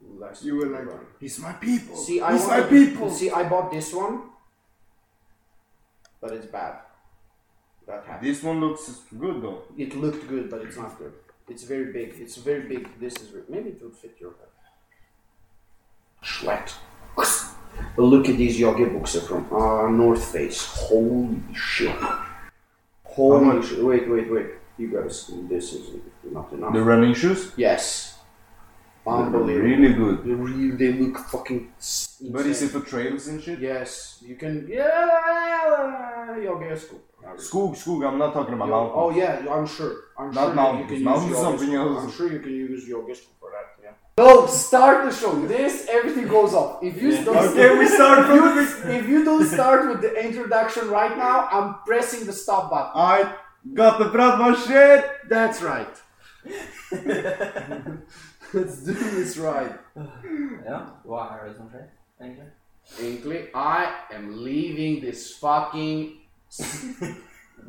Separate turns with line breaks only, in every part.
would like
You were like,
run.
he's my people.
See, I
he's my
wanted-
people.
See, I bought this one, but it's bad. That happened.
This one looks good though.
It looked good, but it's not good. It's very big. It's very big. This is re- maybe it would fit your head. Sweat. But look at these yogi books are from uh, North Face. Holy shit! Holy shit! Wait, wait, wait! You guys, this is not enough.
The running shoes?
yes. Unbelievable.
Really good.
They really they look fucking. s-
But is
insane.
it for trails and shit?
Yes, you can. Yeah, yoga is cool.
Skoog, skoog, I'm not talking about
Yo-
mountains.
oh yeah, yo- I'm sure. I'm
Not
sure
now,
you can
now
use
it's
yoga
something
school.
else.
I'm sure you can use yoga school for that. Yeah. No, start the show. This everything goes off. If you don't,
Okay, we start from the
if, you don't start with the introduction right now, I'm pressing the stop button.
I got the proud my shit!
That's right. Let's do this right.
Ja, er det var Harry som skjer, egentlig.
Inkly, I am leaving this fucking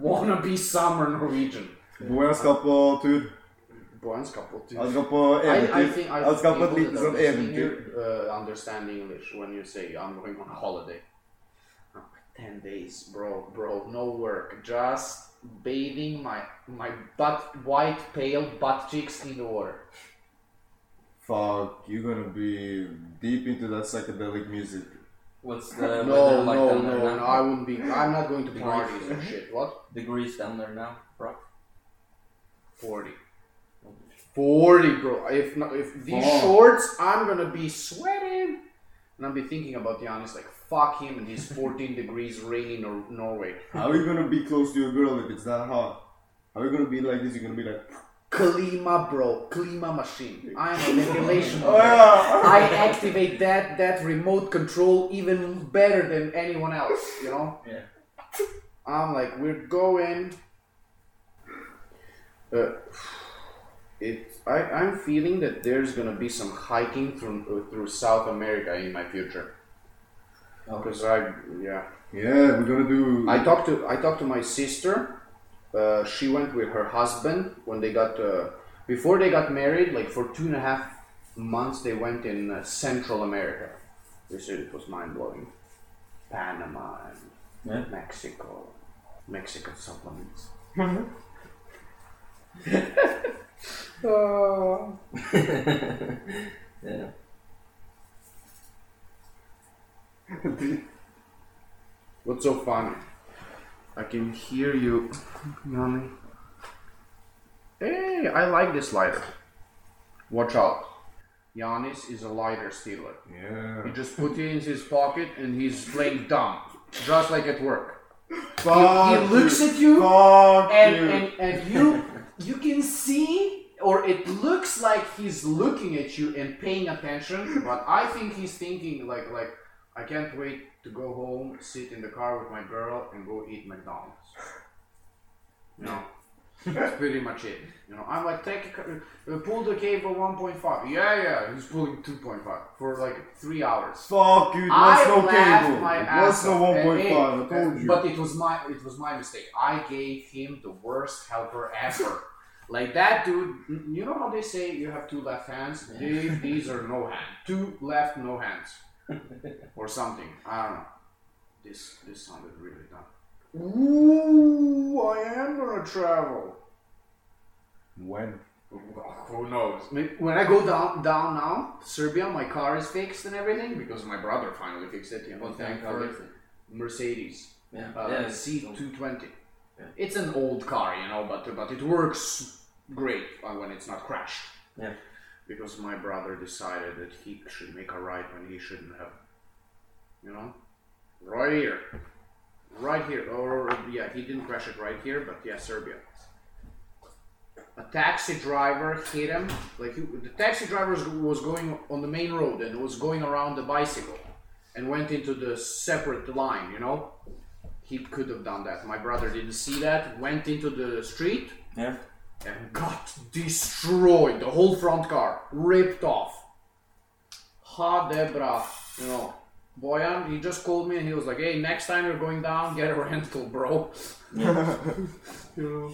wannabe summer Norwegian.
Hvor jeg skal på tur.
Boenskap og
Jeg skal på eventyr. Jeg skal på et lite sånn eventyr.
Uh, understand English when you say I'm going on holiday. I'm like, Ten days, bro, bro, no work, just bathing my my butt, white, pale butt cheeks in the water.
Fuck, you're gonna be deep into that psychedelic music.
What's
no,
the weather Uh, like
no,
down
no,
there now?
no, I wouldn't be. I'm not going to be
Party.
parties and shit. What?
Degrees down there now, rock.
Forty. Forty, bro. If not, if these
Fuck.
shorts, I'm gonna be sweating, and I'll be thinking about Giannis like fuck him and his 14 degrees rain in Nor- Norway.
How are you gonna be close to your girl if it's that hot? How are you gonna be like this? You're gonna be like,
Klima, bro. Klima machine. I'm a manipulation.
oh yeah!
I activate that that remote control even better than anyone else. You know.
Yeah.
I'm like, we're going. Uh, it. I, I'm feeling that there's gonna be some hiking through uh, through South America in my future. Because I yeah.
Yeah, we're gonna do.
I talked to I talked to my sister. Uh, she went with her husband when they got uh, before they got married. Like for two and a half months, they went in uh, Central America. They said it was mind blowing. Panama and
Yeah.
Mexico, Mexican supplements.
yeah.
What's so funny? I can hear you, Nani. Hey, I like this lighter. Watch out. Yanis is a lighter stealer.
Yeah.
He just put it in his pocket and he's playing dumb, just like at work.
Fuck
he looks
you.
at you
Fuck
and,
you.
and, and you you can see or it looks like he's looking at you and paying attention, but I think he's thinking like like I can't wait to go home, sit in the car with my girl, and go eat McDonald's. You know, that's pretty much it. You know, I'm like take a, ca- uh, pull the cable 1.5. Yeah, yeah, he's pulling 2.5 for like three hours.
Fuck you, it
I
was no
laughed
cable.
my
It
ass
was no
off.
1.5, I
And-
told you.
But it was my it was my mistake. I gave him the worst helper ever. like that dude. You know how they say you have two left hands. They, these are no hand. Two left, no hands, or something. I don't know. This this sounded really dumb. Ooh, I am gonna travel.
When?
Who knows? When I go down down now, Serbia, my car is fixed and everything because my brother finally fixed it. You know,
What
thank
kind of car
God.
is it?
Mercedes
Yeah.
uh,
yeah, it's-
C220.
Yeah.
It's an old car, you know, but but it works great uh, when it's not crashed.
Yeah.
Because my brother decided that he should make a right when he shouldn't have. You know, right here, right here, or yeah, he didn't crash it right here, but yeah, Serbia. A taxi driver hit him. Like he, the taxi driver was- was going on the main road and was going around the bicycle, and went into the separate line. You know, he could have done that. My brother didn't see that, went into the street
Yeah.
and got destroyed. The whole front car ripped off. Ha Debra, you know. Boyan, he just called me and he was like, hey, next time you're going down, get a rental, bro. you know.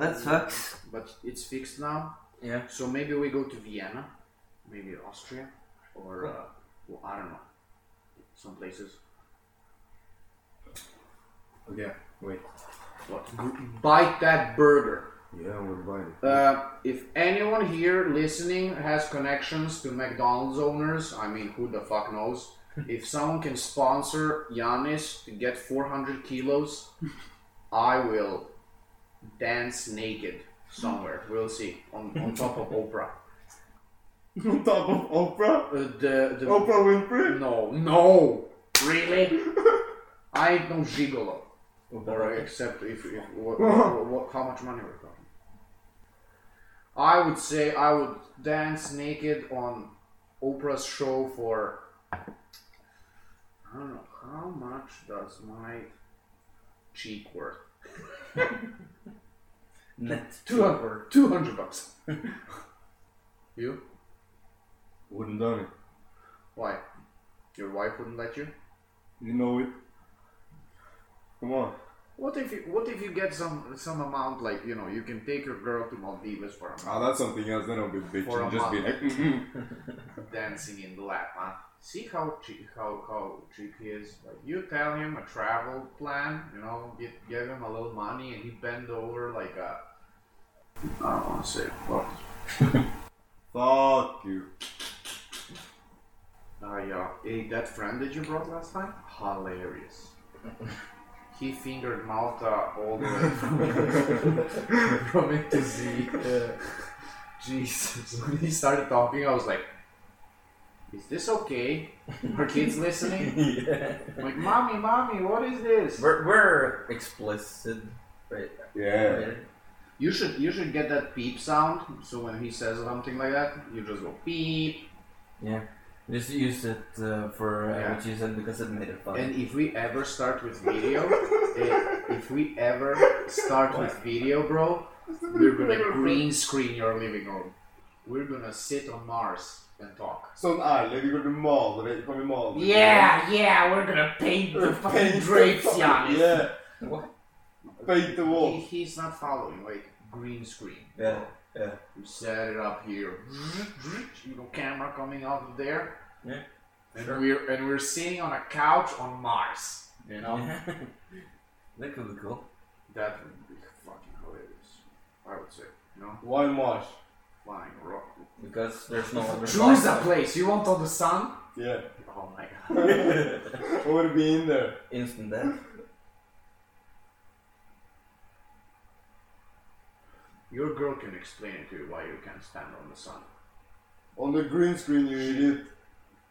That sucks.
But it's fixed now,
Yeah.
so maybe we go to Vienna. maybe Austria, or uh, well, I don't know, some places.
Okay, wait.
What? Bite that burger.
Yeah, we're buying.
Uh, if anyone here listening has connections to McDonald's owners, I mean, who the fuck knows? if someone can sponsor Giannis to get 400 kilos, I will dance naked somewhere. We'll see. On, on top of Oprah.
On top of Oprah?
Uh, the, the,
Oprah Winfrey?
No, no! Really? I ain't no gigolo. Or except if, if what, what, what, how much money we're talking. I would say I would dance naked on Oprah's show for I don't know how much does my cheek worth?
Net.
Two hundred, two hundred bucks. you?
Wouldn't done it.
Why? Your wife wouldn't let you?
You know it. Come on.
What if you what if you get some some amount like you know you can take your girl to Maldives for a month
Ah, that's something else. Then I'll be
For a
bitching. Just be
month.
like, mm-hmm.
dancing in the lap, huh? See how cheap how how cheap he is. Like you tell him a travel plan, you know, give give him a little money and he bend over like a I don't wanna say what.
Fuck you.
Ah yeah. Hey that friend that you brought last time? Hilarious. he fingered Malta all the way from, from it to Z. Jesus. When he started talking, I was like, is this okay? Are kids listening?
yeah.
I'm like, mommy, mommy, what is this?
We're, we're explicit. Right.
Yeah.
You should you should get that beep sound. So when he says something like that, you just go beep.
Yeah. Just use it uh, for uh,
Yeah.
what you said because it made it fun.
And if we ever start with video, eh, if we ever start with video, bro, we're gonna green screen your living room. We're gonna sit on Mars and talk.
Sån island, vi går till Maldiverna, vi kommer till Maldiverna.
yeah, we're gonna paint
Paint the fucking- Yeah.
What?
Paint the
He,
wall.
he's not following. Wait, green screen.
yeah. Yeah.
You set it up here. You know, camera coming out of there.
Yeah,
And
sure.
we're and we're sitting on a couch on Mars. You know
that could be cool.
that would be fucking hilarious. I would say. You know,
Why Marsh?
flying rock.
Because there's no other
Choose a
spot.
place. You want on the sun?
Yeah.
Oh my god.
what would be in there?
Instant death.
Your girl can explain it to you why you can't stand on the sun.
On the green screen, you idiot.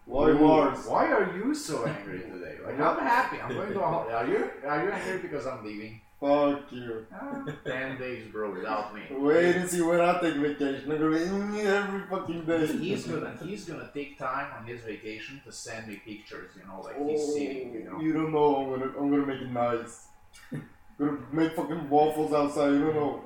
Why
Ooh,
Mars?
Why are you so angry today? Like I'm happy. I'm going to. a hol- Are you? Are you angry because I'm leaving?
Fuck you.
Ah, Ten days, bro, without me.
Wait and see when I take vacation. I'm gonna be mm, every fucking day.
he's gonna he's gonna take time on his vacation to send me pictures, you know, like he's
Oh,
sitting, you know.
you don't know. I'm gonna, I'm gonna make it nice. gonna make fucking waffles outside. You don't know.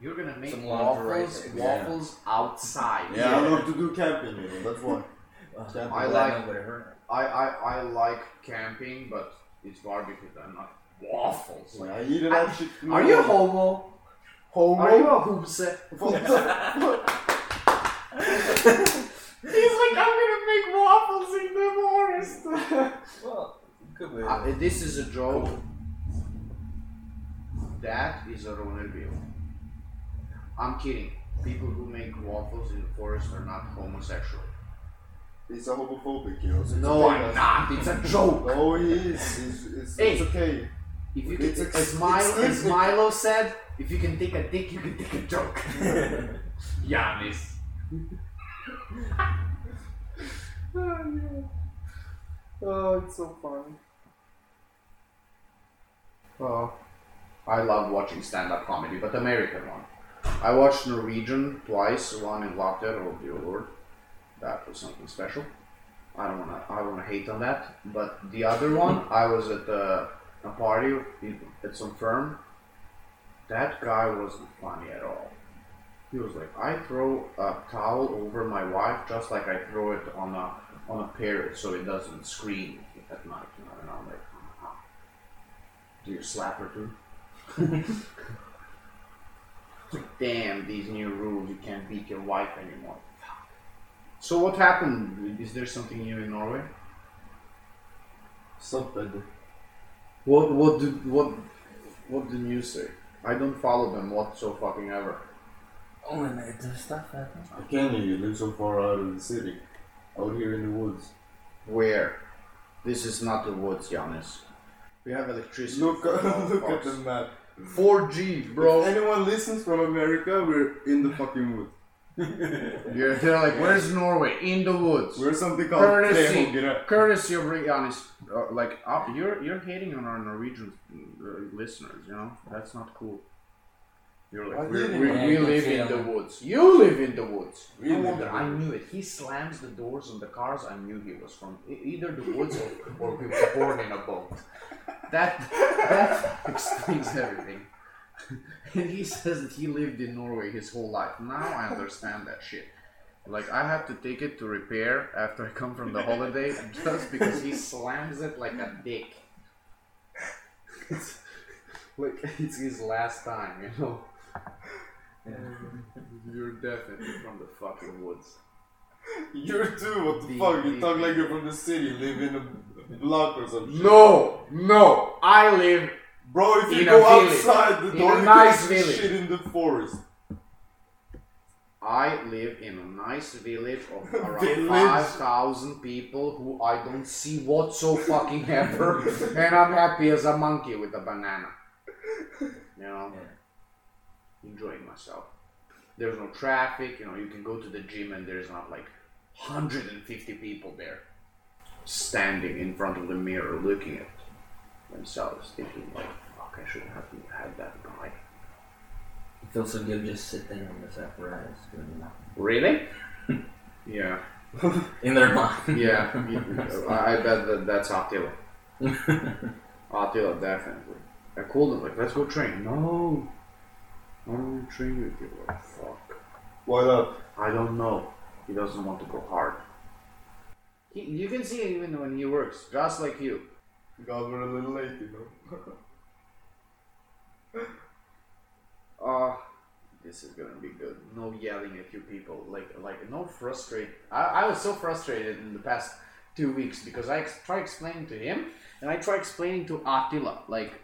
You're gonna make
Some lingerie
waffles
pics.
waffles outside.
Yeah, I love to do camping. You know, that's why.
Uh,
Can't
I
I
like-
like nobody heard.
I, I I like camping, but it's barbecue. I'm not waffles.
Like,
Like,
I eat it that shit.
are you homo?
Homo?
Are you a hoopse?
What the fuck?
He's like, I'm gonna make waffles in the forest.
Well, could be.
uh, this is a joke. That is a Roner beer. I'm kidding. People who make waffles in the forest are not homosexual.
He's a homophobic, you know. so it's
No,
okay,
I'm
that's-
not. It's a joke.
No, he is. It's, it's,
Hey.
it's okay.
If you
It's
can,
ex-
as, Milo,
exclusive.
as Milo said, if you can take a dick, you can take a joke. Giannis.
Oh, it's so funny.
Oh, I love watching stand-up comedy, but American one. I watched Norwegian twice, one in lockdown. Oh dear lord, that was something special. I don't wanna, I wanna hate on that. But the other one, I was at uh, a party in- at some firm. That guy wasn't funny at all. He was like, I throw a towel over my wife just like I throw it on a on a parrot so it doesn't scream at night. You know, and I'm like, "Uh-huh." do you slap her too? Damn, these new rules, you can't beat your wife anymore. So what happened? Is there something new in Norway?
Something.
What what did what what the news say? I don't follow them whatso fucking ever.
Only native stuff, I think.
How can you? You live so far out of the city. Out here in the woods.
Where? This is not the woods, Giannis. We have electricity.
Look,
for all
look at
parts.
the map.
4G,
If
bro.
anyone listens from America, we're in the fucking woods.
Yeah, they're like, where's Norway? In the woods.
We're something called
Courtesy,
Tehogira.
courtesy of being honest. Uh, like, uh, you're you're hating on our Norwegian uh, listeners. You know that's not cool. You're
I
like, we
didn't
we,
know.
we
Yeah,
live
you
in
can say
the
that.
woods. You live in the woods.
We
no
live
wonder
in the
I
woods.
knew it. He slams the doors on the cars. I knew he was from e- either the woods or, or he was born in a boat. That that explains everything. And he says that he lived in Norway his whole life. Now I understand that shit. Like I have to take it to repair after I come from the holiday just because he slams it like a dick. It's, like it's his last time, you know. You're definitely from the fucking woods.
You're too, what the
The-
fuck? You
the-
talk like you're from the city, live in a block or something.
No, no, I live.
Bro, if you
In a
go
village.
outside the
In
door,
a
you
nice
can see
village.
shit in the forest.
I live in a nice village of around
Village.
five thousand people who I don't see whatso fucking ever, and I'm happy as a monkey with a banana. You know, enjoying myself. There's no traffic. You know, you can go to the gym and there's not like 150 people there standing in front of the mirror looking at themselves, thinking like, "Fuck, I shouldn't have had that guy."
It feels so good just sitting on this apparatus doing nothing.
Really? yeah.
In their mind.
Yeah, I I bet that that's Attila. Attila, definitely. I called him, like, let's go train. No, I don't want to train with you. Like, fuck.
Why not?
I don't know. He doesn't want to go hard. He, you can see it even when he works, just like you.
God, we're a little late, you know.
Uh, this is gonna be good. No yelling at you people. Like, like no frustrate. I, I was so frustrated in the past two weeks because I ex- try explaining to him and I try explaining to Attila, like,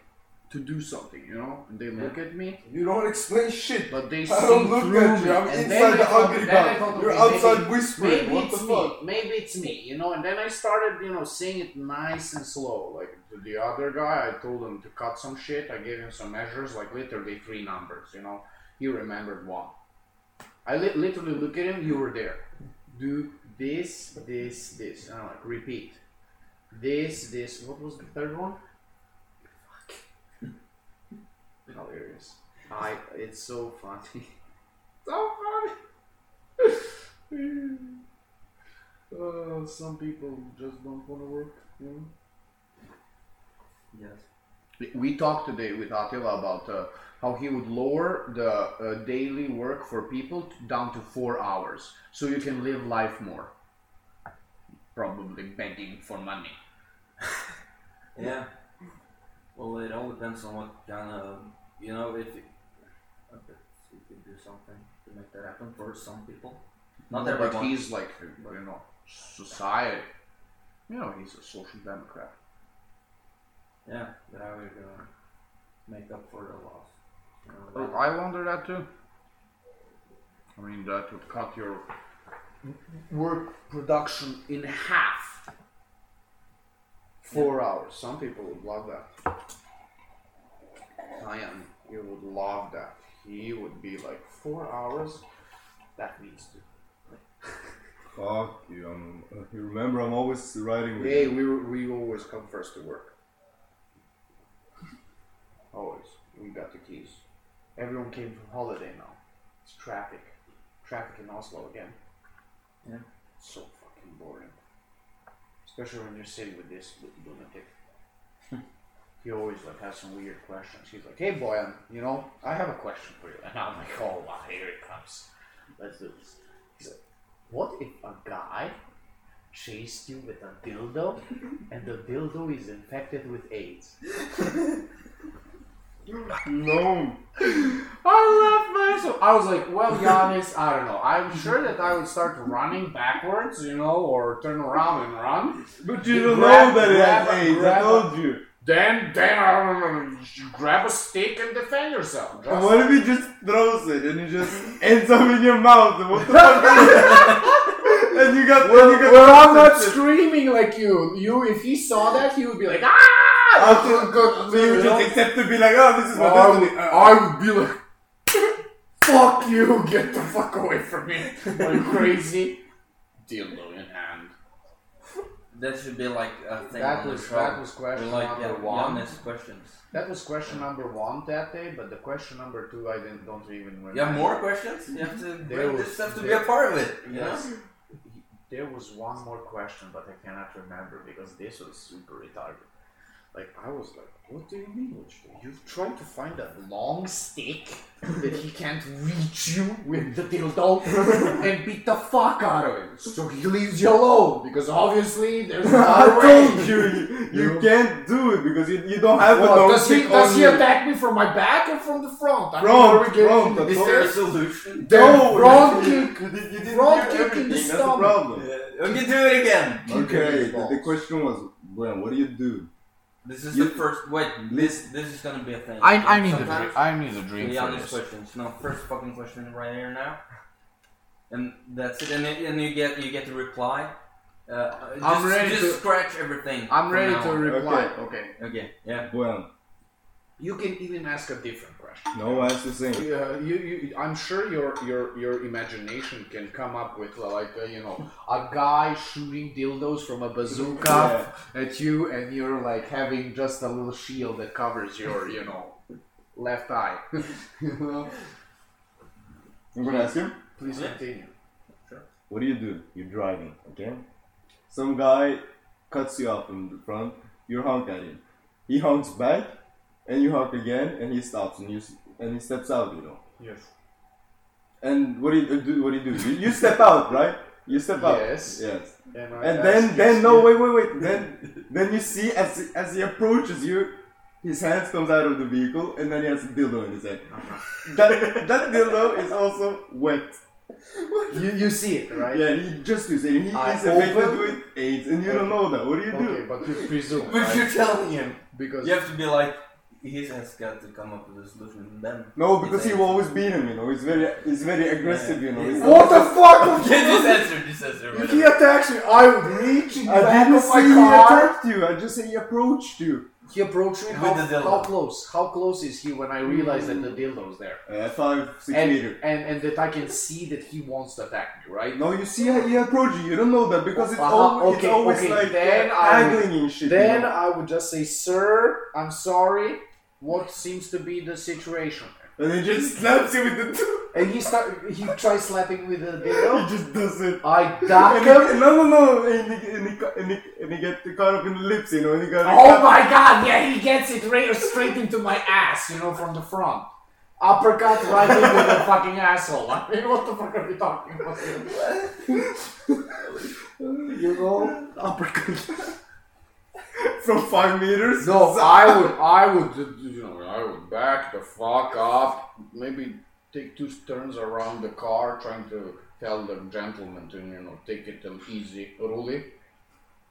to do something, you know? And they look at me,
You don't explain shit.
but they see
I don't look
through
at
me.
you. I'm
and then
inside
I
the
thought-
ugly
then I
guy.
thought,
You're
okay,
outside
maybe-
whispering.
Maybe
What
it's
the
me.
fuck?
Maybe it's me, you know. And then I started, you know, saying it nice and slow. Like to the other guy, I told him to cut some shit. I gave him some measures, like literally three numbers. You know, he remembered one. I li- literally look at him. You were there. Do this, this, this. And I'm like, repeat. This, this. What was the third one? Fuck. Hilarious. I. It's so funny. so funny. Uh, some people just don't want to work. You know?
Yes.
We- We talked today with Attila about uh, how he would lower the uh, daily work for people t- down to four hours, so you can live life more. Probably begging for money.
Yeah. Well, it all depends on what kind of, you know, if you, I bet you could do something to make that happen for some people. Not
No, but
everyone.
he's like, you know, society. You know, he's a social democrat.
Yeah, but I would uh, make up for the loss. You know,
Oh, I wonder that too. I mean, that would cut your work production in half. Four hours. Some people would love that. I am. You would love that. He would be like four hours. That means to.
Fuck you. I'm, uh, you remember, I'm always riding with
Hey,
you.
we we always come first to work. Always. We got the keys. Everyone came from holiday now. It's traffic. Traffic in Oslo again.
Yeah.
So fucking boring. Especially when you're sitting with this lu- lunatic. he always like has some weird questions. He's like, "Hey, boy, I'm, you know, I have a question for you," and I'm like, "Oh wow, here it comes. Let's do this." He's like, "What if a guy chased you with a dildo, and the dildo is infected with AIDS?"
No.
I left myself. I was like, well, Giannis, I don't know. I'm sure that I would start running backwards, you know, or turn around and run.
But
You
you don't
grab-
know that
grab-
at eight. I
grab-
told you.
Then, then I don't know, you grab a stick and defend yourself.
And
Just-
what if he just throws it and it just ends up in your mouth? And What the fuck? and you got.
Well,
and you got
well, I'm not
conscious.
screaming like you. You, if he saw that, he would be like, ah!
After- So you
You know?
just accept to be like, oh, this is my
I would,
destiny. Uh,
Um, I would be like, fuck you, get the fuck away from me. Are you crazy? Dildo in hand.
That should be like a thing.
That
on the
was-
show.
that was question
We like
number
yeah,
one.
honest questions.
That was question number one that day, but the question number two, I didn't, don't even remember.
You have more questions? You have to
There
bring
was-
this stuff to be
there-
a part of it. You
Yes.
know?
There was one more question, but I cannot remember because this was super retarded. Like, I was like, what do you mean? what you- You've tried to find a long stick that he can't reach you with the dildo and beat the fuck out of him. So he leaves you alone because obviously there's no
I
way.
told you, you, you
You-
can't do it because you, you don't have a
Well,
long
does he,
stick
does
on
he
you.
attack me from my back or from the front? I mean,
Front,
are we getting
front,
into
the
this?
Is there a solution?
Then
No,
front
you-
kick.
You, did- you didn't
Front
do
kick in the
everything. That's
stomach.
the problem.
Yeah. Okay, do it again.
Okay, the, the
balls.
question was, Glenn, what do you do?
This is
You-
the first. Wait, this this is gonna be a thing. Sometimes-
I need a
To be honest, questions. No, first fucking question right here now, and that's it. And, it, and you get you get to reply. Uh, Uh, just,
I'm ready
Just
to-
scratch everything.
I'm
from
ready
now
to
on.
reply.
Okay.
okay.
Okay. Yeah.
Glenn,
You can even ask a different question.
no answer saying.
Uh, you, you, I'm sure your your your imagination can come up with uh, like uh, you know a guy shooting dildos from a bazooka at you, and you're like having just a little shield that covers your you know left eye. You know?
I'm gonna ask him.
Please continue.
What do you do? You're driving, okay? Some guy cuts you off in the front, you honk at him. He honks back, and you honk again, and he stops, and you s- and he steps out, you know.
Yes.
And what do you uh, do? What do you do? You, you step out, right? You step out.
Yes.
Yes.
And, I
And
ask
then,
you-
then no, wait, wait, wait. Then, then you see as he- as he approaches you, his hands comes out of the vehicle, and then he has a dildo in his hand. That that dildo is also wet.
You, you see it right?
Yeah, he just is and he
I
is affected
open-
with AIDS, and you don't know that. What do you
Okay,
do?
but you presume
But
right?
you're telling him.
because
You have to be like. He has got to come up with a solution then.
No, because he will always beat him. You know, he's very, he's very aggressive. You know, he's
what the fuck?
Yeah, just answer. Just answer.
If
whatever.
he attacks me, I would reach in the
I
back
didn't
of my
say he
car.
attacked you. I just say he approached you.
He approached me.
With
How,
the dildo.
how close? How close is he when I realize that the dildo is there?
Uh, five, six
And,
meter.
and and that I can see that he wants to attack me, right?
No, you see how he approached you. You don't know that because it's,
Uh-huh,
always,
okay,
it's always
okay,
like
then I will-
haggling and shit.
Then
you know?
I would just say, "Sir, I'm sorry. What seems to be the situation?"
and he just slaps you with the. he
And he start. He tries slapping with the dildo.
just does it.
I
And
duck
he,
him.
no, no, no, and he, and, he, ca- and, he, and he get caught up in the lips, you know. And he got
Oh my god! Yeah, he gets it right, straight into my ass, you know, from the front. Uppercut right into the fucking asshole. I mean, what the fuck are we talking about? here? you know, uppercut.
from five meters.
No, I would, I would, you know, I would back the fuck up. Maybe take two turns around the car, trying to tell the gentleman to, you know, take it um, easy, really.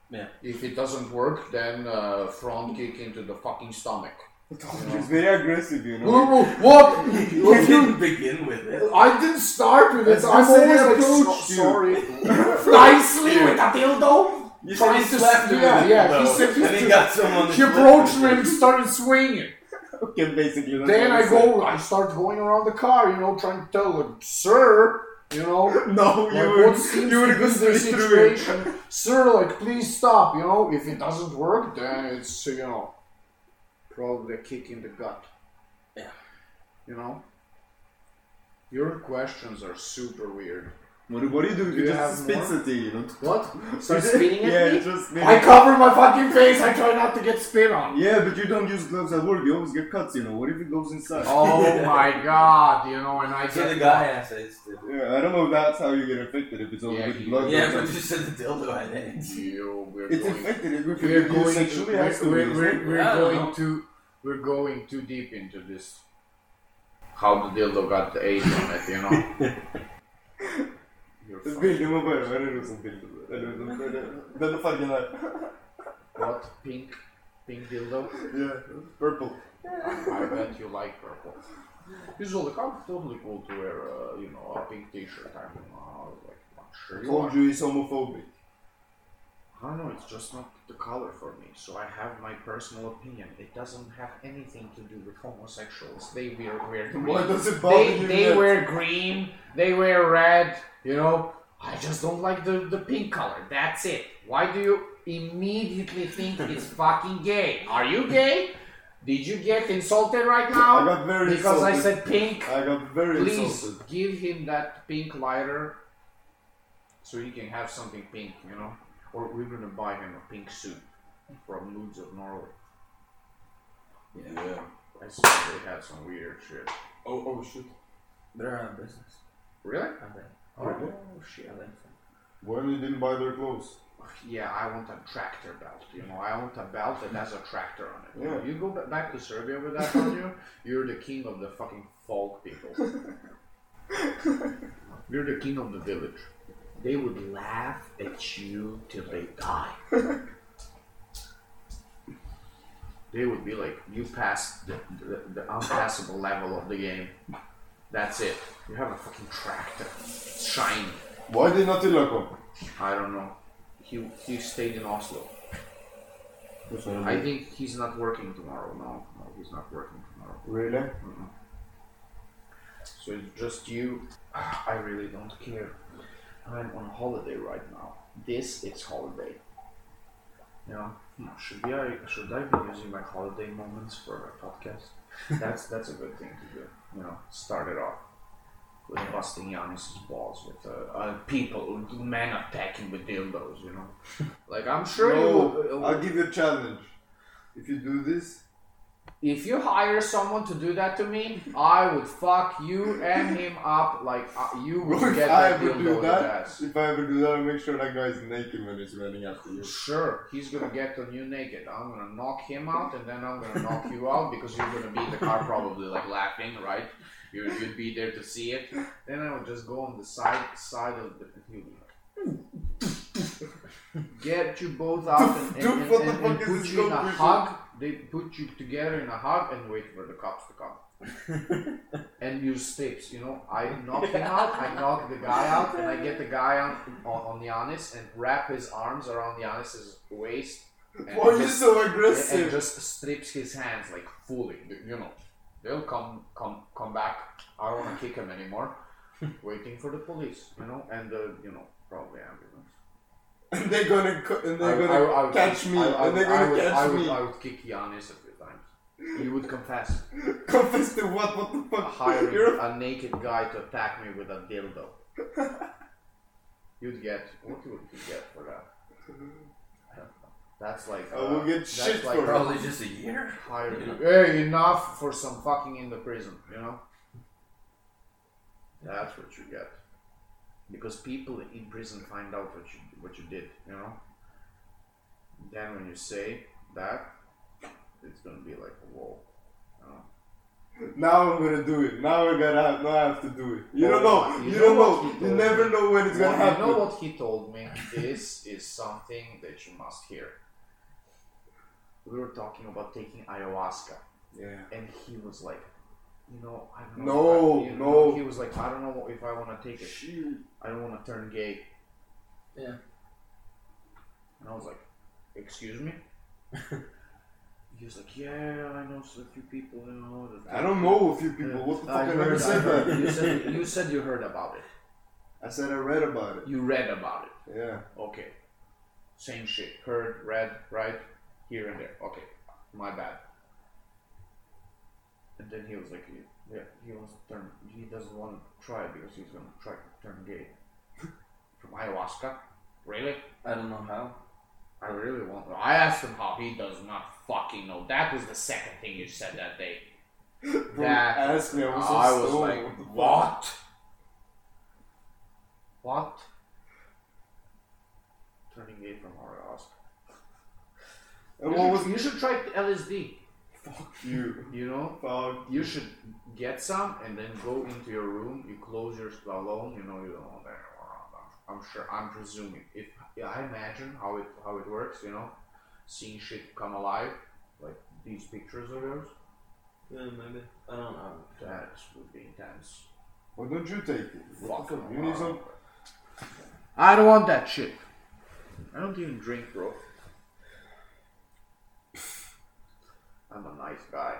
Yeah.
If it doesn't work, then uh, front kick into the fucking stomach.
He's very aggressive, you know.
What?
You didn't begin with it.
I didn't start with it.
That's
I'm
the same
always like,
approach,
so-
dude.
sorry. Nicely with a dildo.
You said
Trying
he
to
slapped you
yeah,
with it,
yeah,
though.
he said he
and he
said-
got someone.
He approached me and started swinging.
Okay, basically. that's
Then
what
I
he
go, I start going around the car, you know, trying to tell him, sir, you know,
said. No,
like,
you
what
would.
seems
You
to
would
be
go
the
straight through it.
situation, sir, like, please stop, you know, if it doesn't work, then it's, you know, probably a kick in the gut.
Yeah.
You know? Your questions are super weird.
What, do- what do you do?
Do
you
you
just
have
spits
more?
at you, you know.
What? Start spitting at
yeah,
me?
just spitting.
I cover my fucking face. I try not to get spit on.
yeah, but you don't use gloves at work. You always get cuts, you know. What if it goes inside?
Oh my god, you know, and I
So
get
the guy answers. too.
Yeah, I don't know if that's how you get infected if it's only
Yeah,
with
you-
blood.
Yeah,
or
but
something.
you said the dildo I didn't.
You, we're
it's
going.
infected. If
We're
you
going.
sexually
We're,
active,
we're,
isn't
we're,
it?
we're
I don't
going
know.
to. We're going too deep into this. How the dildo got the age on it, you know? You're fucking-
Bilder må bare være rosenbilder. Eller sånn, eller- Denne fargen her.
What? Pink? Pink dildo?
Yeah. Purple.
I bet you like purple. He's all like, I'm totally cool to wear, uh, you know, a pink t-shirt. I'm uh, like, not sure
I
you are.
told you he's homophobic.
I don't know, it's just not the color for me, so I have my personal opinion. It doesn't have anything to do with homosexuals. They wear, wear green.
Why does it bother
they
you
they
yet?
wear green, they wear red, you know. I just don't like the, the pink color. That's it. Why do you immediately think it's fucking gay? Are you gay? Did you get insulted right
I
now?
got very
Because I
insulted.
said pink.
I got very
Please
insulted.
give him that pink lighter so he can have something pink, you know? Or we're gonna buy him a pink suit from Moods of Norway.
Yeah.
I saw they had some weird shit.
Oh, oh shit.
They're out of business.
Really?
I think.
Oh, shit.
I think so.
Why they didn't buy their clothes?
Yeah, I want a tractor belt. You know, I want a belt that has a tractor on it.
Yeah.
You go ba- back to Serbia with that on you, you're the king of the fucking folk people. you're the king of the village. They would laugh at you till they die. they would be like, you passed the, the, the unpassable level of the game. That's it. You have a fucking tractor. It's shiny.
Why did not Attila come?
I don't know. He, he stayed in Oslo.
Yes, I
I
know.
think he's not working tomorrow. No, no, he's not working tomorrow.
Really?
So it's just you. I really don't care. I'm on holiday right now. This is holiday. You know, hmm, should be I should I be using my holiday moments for a podcast? That's that's a good thing to do. You know, start it off with busting Giannis's balls with uh, uh, people, men attacking with dildos. You know, like I'm sure you. uh,
No, I'll give you a challenge. If you do this,
If you hire someone to do that to me, I would fuck you and him up like uh, you would
if
get
I
that
ever
dildo
do
in the
that,
ass.
if I ever do that, I'll make sure that guy's naked when he's running after you.
Sure, he's gonna get on you naked. I'm gonna knock him out, and then I'm gonna knock you out because you're gonna be in the car probably like laughing, right? You, you'd be there to see it. Then I would just go on the side side of the. He'd be like, Get you both out and, and,
Dude,
and,
what the
and-
fuck
and
is
put
this
you in a
conversation?
hug. They put you together in a hug and wait for the cops to come. and use steps. You know, I knock him out, I knock the guy out, and I get the guy on on, on Giannis and wrap his arms around Giannis's waist. And
Why are you
just,
so
and, and
aggressive?
just strips his hands like fully. You know, they'll come come come back. I don't want to kick him anymore. Waiting for the police. You know, and uh, you know probably ambulance.
And they're gonna, co- and they're
I-
gonna
I- I would-
catch me,
I- I
and they're
would- I
gonna
would-
catch
I would,
me.
I would kick Giannis a few times. He would confess.
Confess to what? What the fuck?
hiring
You're
a naked guy to attack me with a dildo. You'd get what would you get for that? That's like uh,
I will get
that's
shit
like
for it.
Probably just a year.
hiring. Hey, enough for some fucking in the prison, you know. That's what you get, because people in prison find out what you what you did, you know. Then when you say that, it's gonna be like whoa. you know?
Now I'm gonna do it. Now I gotta have, now I have to do it. You don't
Oh,
know.
you
You,
know
don't know.
what he
You
told
never
me.
know when it's gonna
Well,
happen.
You know what he told me? This is something that you must hear. We were talking about taking ayahuasca,
Yeah.
and he was like, "You know, I don't
No,
know." if I- you
no.
He was like, "I don't know if I want to take it. I don't want to turn gay."
Yeah.
And I was like, "Excuse me." he was like, "Yeah, I know a few people. You know, that-
I don't know a few people. What the fuck? I,
I
never
heard- I
said
heard- You
that.
said you said you heard about it.
I said I read about it.
You read about it."
Yeah.
Okay. Same shit. Heard, read, right, here and there. Okay. My bad. And then he was like, yeah, he wants to turn, he doesn't want to try because he's going to try to turn gay. From ayahuasca? Really?
I don't know how.
I really want to. I asked him how he does not fucking know. That was the second thing you said that day.
Bro,
That
ask me. I was, so
I was
stoned.
like,
the fuck?
what? What? Turning gay from ayahuasca.
And
You
what
should- you
was?
should try LSD.
Fuck you.
You know,
Fuck.
you should get some and then go into your room. You close your alone. You know, you don't want anyone around. I'm, I'm sure. I'm presuming. If yeah, I imagine how it how it works. You know, seeing shit come alive, like these pictures of yours.
Yeah, maybe. I don't know.
That would be intense.
Why don't you take it? What the
Fuck.
fuck? You need some.
I don't want that shit. I don't even drink, bro. I'm a nice guy.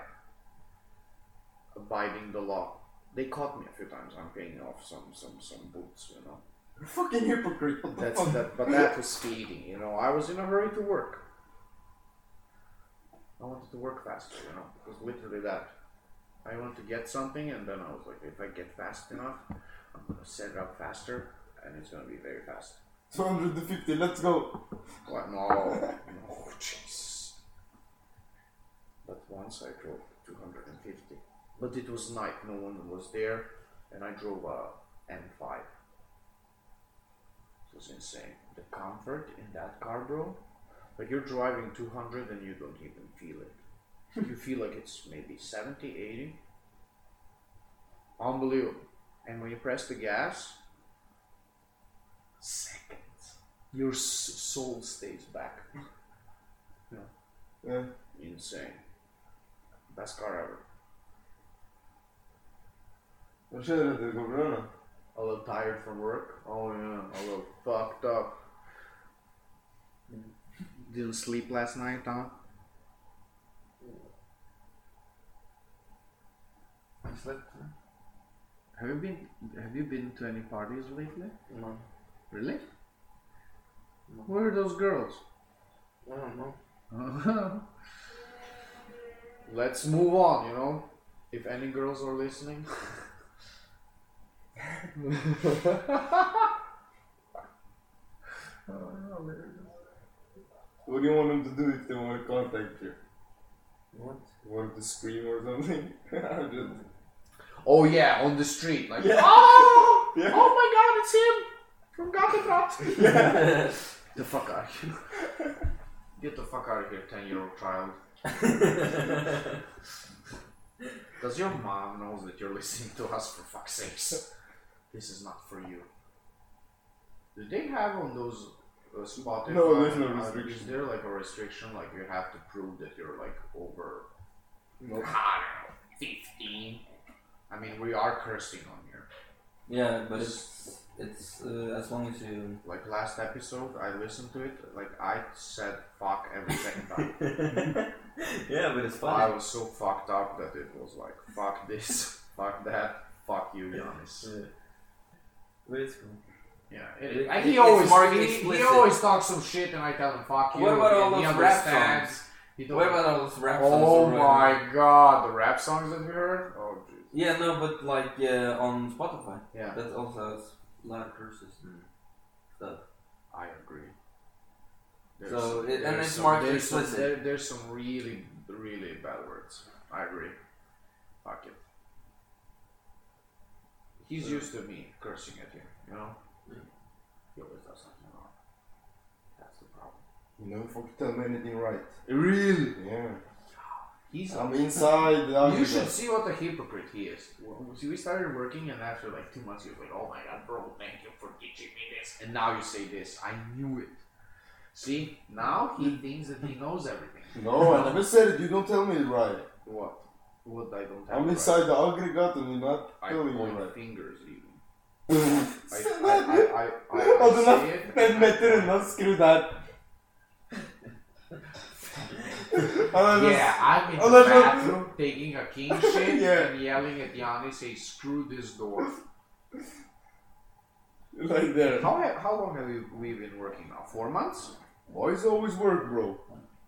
Abiding the law. They caught me a few times. I'm paying off some some some boots, you know.
You're fucking hypocrite. What the
That's
fuck?
that, but that was speeding. You know, I was in a hurry to work. I wanted to work faster. You know, it was literally that. I wanted to get something, and then I was like, if I get fast enough, I'm gonna set it up faster, and it's gonna be very fast.
250, let's go.
What? No. no, jeez. Oh, But once I drove 250. But it was night, no one was there, and I drove a M5. It was insane. The comfort in that car, bro. Like you're driving 200 and you don't even feel it. you feel like it's maybe 70, 80. Unbelievable. And when you press the gas, seconds your s- soul stays back.
Yeah.
Insane. Best car ever.
Vad känner du att det går bra då?
A little tired from work. Oh yeah, a little fucked up. Didn't sleep last night, huh?
I slept. huh?
Have you been? Have you been to any parties lately?
No.
Really?
No.
Where are those girls?
I don't know.
Let's move on, you know? If any girls are listening.
What do you want them to do if they want to contact you?
What?
You want them to scream or something? I'm just...
Oh yeah, on the street, like
Yeah.
Oh,
Yeah.
oh my god, it's him from Gothenburg. the fuck out of here. Get the fuck out of here, ten year old child. Does your mom knows that you're listening to us for fuck's sakes? This is not for you. Do they have on those uh, Spotify?
No, there's no
uh, Is
restriction.
there like a restriction? Like you have to prove that you're like over
No.
I don't know, 15. I mean, we are cursing on here.
yeah, but it's it's uh, as long as you.
Like last episode, I listened to it. Like I said, fuck every second time.
yeah, but it's
I was so fucked up that it was like, fuck this, fuck that, fuck you, Giannis.
Yeah. But it's cool.
Yeah,
it- It-
he
it's
always
more
he, he
explicit.
always talks some shit, and I tell him fuck you.
What about
and
all
he
those rap
understands.
songs?
He don't-
What about all those rap songs?
oh
that were-
my god, the rap songs that we heard. Oh jeez.
Yeah, no, but like uh, on Spotify,
Yeah,
that also has a lot of curses and stuff.
I agree.
So, it- and
there's
it's marked
there's some,
explicit.
there, there's some really, really bad words. I agree. Fuck it. He's
Yeah.
used to me cursing at him, you know?
Yeah.
He always does something wrong. That's the problem.
You never fucking tell me anything right.
Really?
Yeah.
He's
I'm inside. I'm
You should see what a hypocrite he is. Well, See, we started working, and after like two months, he was like, "Oh my god, bro, thank you for teaching me this." And now you say this. I knew it. See, now he thinks that he knows everything.
No, I never said it. You don't tell me it right.
What? What I don't have.
I'm
right?
inside the aggregate and you're not
I
telling me
point
right.
fingers even. I,
Sen
I,
abi.
I, I, I, I
Adına
say it,
ben
and I
Metin'in
point.
nasıl skriver? Anladın
Yeah, I'm in
Oh,
the
that's not-
bathroom taking a king shit
Yeah.
and yelling at Yanni, say, "Screw this door."
Like there.
How how long have you, we been working now? Four months.
Boys always work, bro.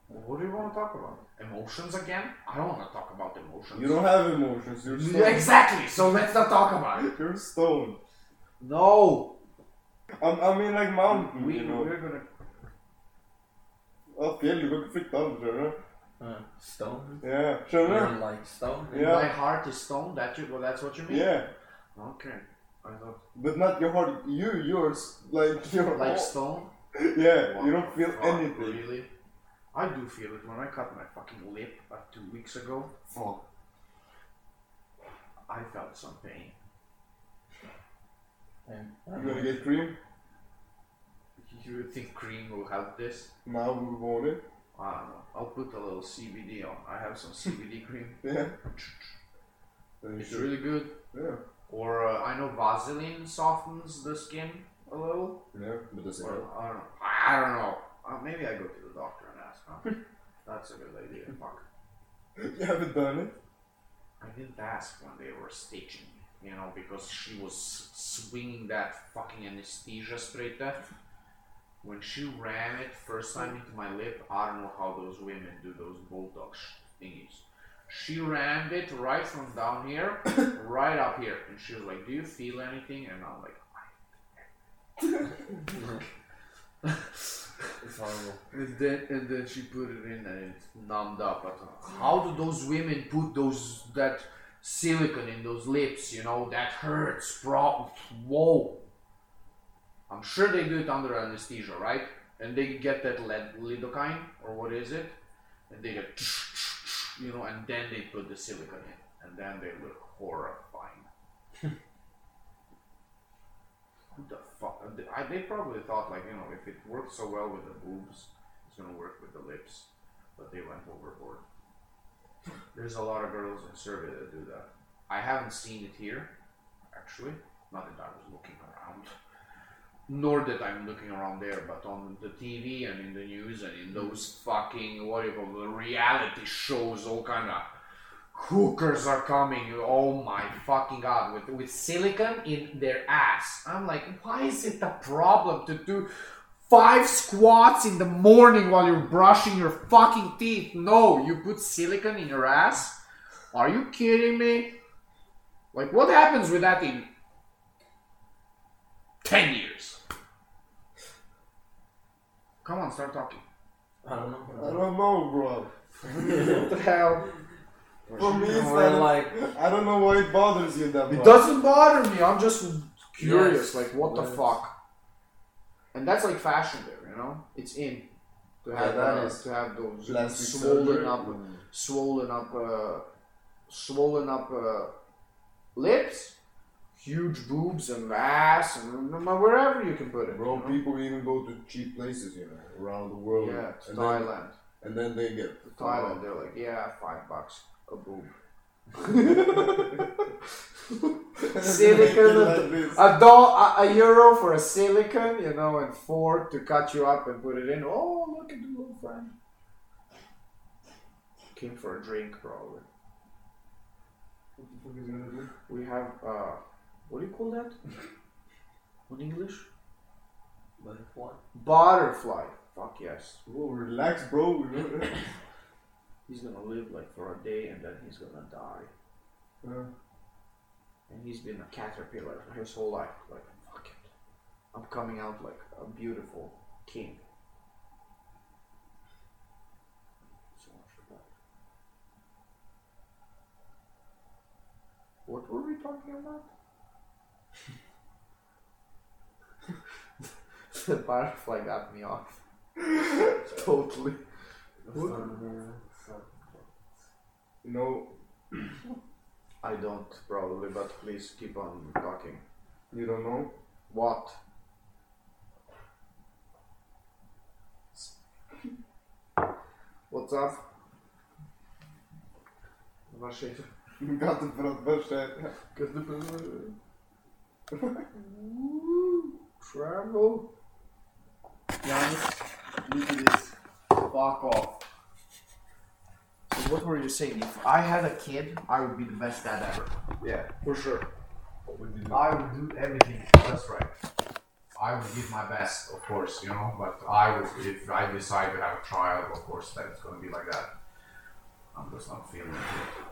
What do you want to talk about? Emotions again? I don't want to talk about emotions.
You don't have emotions. You're
Yeah,
stone.
exactly. So let's not talk about it.
You're stone.
No.
I'm, I'm in like mountain,
Um, We
you know. Oh,
we're gonna.
Att det är mycket flyktande, kör du?
Uh, stone.
Yeah, kör du?
You're like stone.
Yeah.
My heart is stone. That you. Well, that's what you mean.
Yeah.
Okay. I thought
But not your heart, you, yours, like your
like
all-
stone.
Yeah, you don't feel
Fuck,
anything.
Really? I do feel it when I cut my fucking lip like two weeks ago.
Fuck.
I felt some pain.
You gonna get cream?
You think cream will help this?
Now we want it.
I don't know. I'll put a little CBD on. I have some CBD cream.
Yeah. Then you
It's
should-
really good.
Yeah.
Or uh, I know Vaseline softens the skin a little.
Yeah, but does it
Or,
help?
I don't know. I don't know. Uh, maybe I go to the doctor and ask. Huh? That's a good idea. Fuck.
You haven't done it?
I didn't ask when they were stitching, you know, because she was s- swinging that fucking anesthesia spray there. When she ran it first time into my lip, I don't know how those women do those Botox thingies. She rammed it right from down here, right up here, and she was like, "Do you feel anything?" And I'm like,
It's horrible.
And then and then she put it in and it numbed up. I thought, how do those women put those that silicone in those lips? You know that hurts. Bro, whoa. I'm sure they do it under anesthesia, right? And they get that lead, lidocaine or what is it? And they get, you know, and then they put the silicone in, and then they look horrifying. Who the fuck? I, they probably thought like you know if it worked so well with the boobs, it's gonna work with the lips, but they went overboard. There's a lot of girls in Serbia that do that. I haven't seen it here, actually. Not that I was looking around, nor that I'm looking around there, but on the TV and in the news and in those fucking what do you call the reality shows, all kind of hookers are coming. Oh my fucking god, with with silicon in their ass. I'm like, why is it a problem to do five squats in the morning while you're brushing your fucking teeth? No, you put silicon in your ass. Are you kidding me? Like, what happens with that in ten years? Come on, start talking.
I don't
I
know.
don't know, bro.
What the hell?
For me, it's
Or
that
like-
I don't know why it bothers you that
It
much.
doesn't bother me. I'm just curious,
Yes.
like what the
Yes.
fuck. And that's like fashion, there. You know, it's in to have
Yeah, that
uh,
is.
to have those
Plastic
swollen
surgery.
up, swollen up, uh, swollen up uh, lips, huge boobs and ass, and wherever you can put it.
Bro,
you
people even go to cheap places, you know, around the
know?
world.
yeah, to
and, then, Oh.
Thailand,
and then they get
to Thailand, they're like, yeah, five bucks a boob. Silicon,
Like this.
a dollar, a, a euro for a silicon, you know, and four to cut you up and put it in. Oh, look at the little friend. Came for a drink, probably.
What the fuck is gonna do?
We have, uh, what do you call that? In English?
But what?
Butterfly. Fuck yes.
Whoa, relax, bro. uh,
He's gonna live like for a day and then he's gonna die.
Uh,
And he's been a caterpillar his whole life. Like, fuck it. I'm coming out like a beautiful king. So much for that. What were we talking about? the butterfly got me off. totally.
you know,
I don't probably, but please keep on talking.
you don't know.
What? What's up? Ваши...
Gata brat, bășe.
Travel? Giannis, look at this. Fuck off. So what were you saying? If I had a kid, I would be the best dad ever.
Yeah.
For sure.
What would you do?
I would do everything. That's right. I would give my best, of course, you know. But I would, if I decide to have a child, of course, then it's going to be like that. I'm just not feeling it. yet.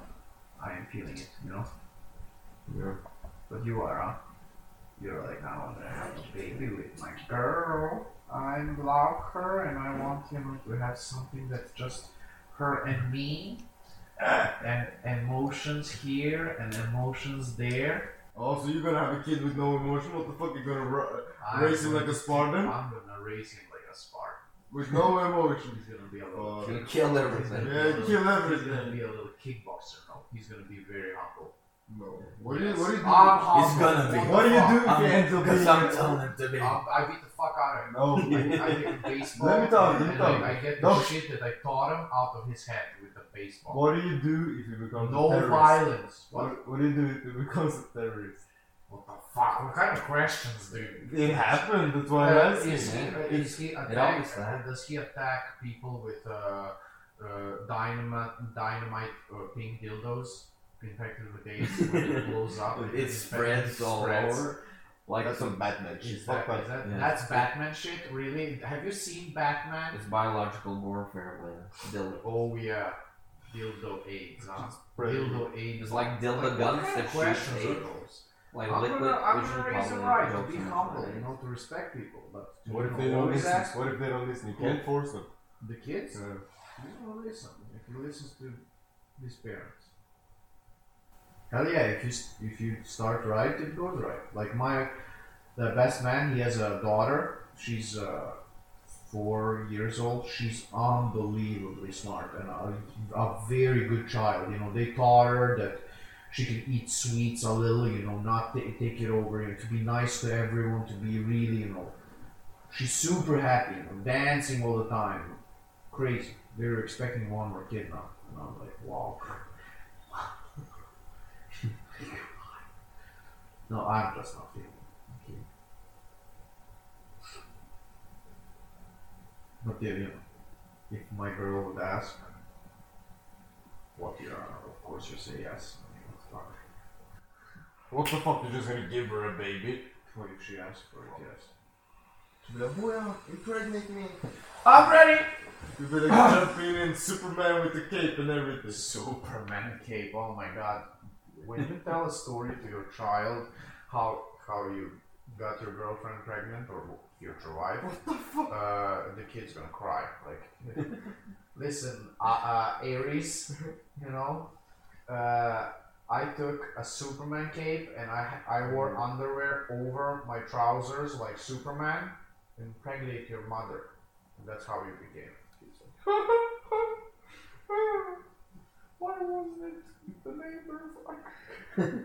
I am feeling it, you know.
Yeah.
But you are, huh? You're like, I want to have a baby with my girl. I love her, and I want you know to have something that's just her and me, and emotions here and emotions there.
Oh, so you're gonna have a kid with no emotion? What the fuck? You're gonna ra-
I'm
raise him
going
like a
to-
Spartan?
I'm gonna raise him like a Spartan.
With no emotion, he's gonna be a little.
Uh,
Gonna kill everything.
Yeah, kill
He's
everything.
gonna be a little kickboxer now. He's gonna be very humble.
No. What do you? What do you do?
Ah,
I'm humble.
He's gonna be.
What do you do?
I'm
Yeah,
into
because
because I'm telling him to be.
Um, I beat the fuck out of him.
No.
I, I get baseball.
Let me talk, let me
and
talk.
I, I get the
No.
shit that I taught him out of his head with the baseball.
What do you do if you become
no
a terrorist?
violence. What?
What, what do you do if you become a terrorist?
what the fuck? What kind of questions, dude?
It happened. That's why
Uh,
I'm asking.
is he,
It-
is he
always
attack,
happens.
does he attack people with uh, uh, dynamite, dynamite or pink dildos infected with AIDS when it blows up? and
It spreads all
spreads?
over. Like
That's some Batman shit.
Is that, is that,
Yeah.
That's Batman shit, really? Have you seen Batman?
It's biological warfare with dildo.
Oh yeah, dildo AIDS, huh? Dildo AIDS.
It's like dildo
what
guns
kind
that
of
shoot
questions are
eight.
those?
Like
I'm
liquid
gonna, I'm
vision
gonna raise the
probably
right
jokes
to be
and
humble,
stuff.
you know, to respect people. But
What if
you
they
know,
don't
always
listen?
ask
What if they don't listen? You can't force them.
the kids?
Uh,
You don't listen. If you listen to these parents.
Hell yeah, if you s- if you start right, it goes right. Like my the best man, he has a daughter. She's uh, four years old. She's unbelievably smart and a, a very good child. You know, they taught her that she can eat sweets a little. You know, not ta- take it over. You know, to be nice to everyone. To be really, you know, she's super happy. You know, dancing all the time. Crazy. They were expecting one more kid now, and I'm like, wow. No, I'm just not feeling it. Okay. But yeah, you know, if my girl would ask, what your honor, of course you say yes. I mean, what the fuck?
what the fuck? You're just gonna give her a baby?
What if she asks for it, yes.
She'll be like, well, impregnate me.
I'm ready!
You'll be like jumping in Superman with the cape and everything.
Superman cape, oh my god. When you tell a story to your child how how you got your girlfriend pregnant or your wife, uh, the kid's gonna cry. Like, listen, uh, uh, Aries, you know, uh, I took a Superman cape and I, I wore underwear over my trousers like Superman, impregnate your mother. And that's how you became. He's like, why wasn't it the neighbor?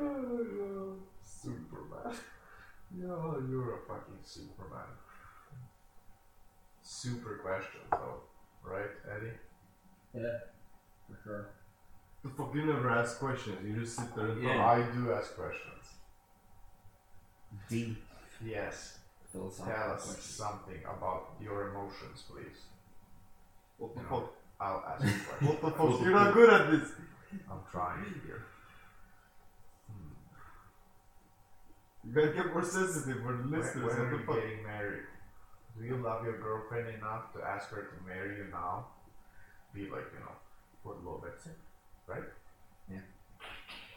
oh, Superman. No, you're a fucking Superman. Super question, though. Right, Eddie?
For sure.
The fuck? You never ask questions. You just sit there and
Yeah.
I do ask questions.
Deep
Yes.
philosophical
Tell us
questions.
something about your emotions, please.
talk. What the
You know,
fuck?
I'll ask you questions.
What the fuck? You're not good at this.
I'm trying here.
You gotta get more sensitive for the
When,
listeners.
when are you
What the fuck?
getting married? Do you love your girlfriend enough to ask her to marry you now? Be like, you know, would love it.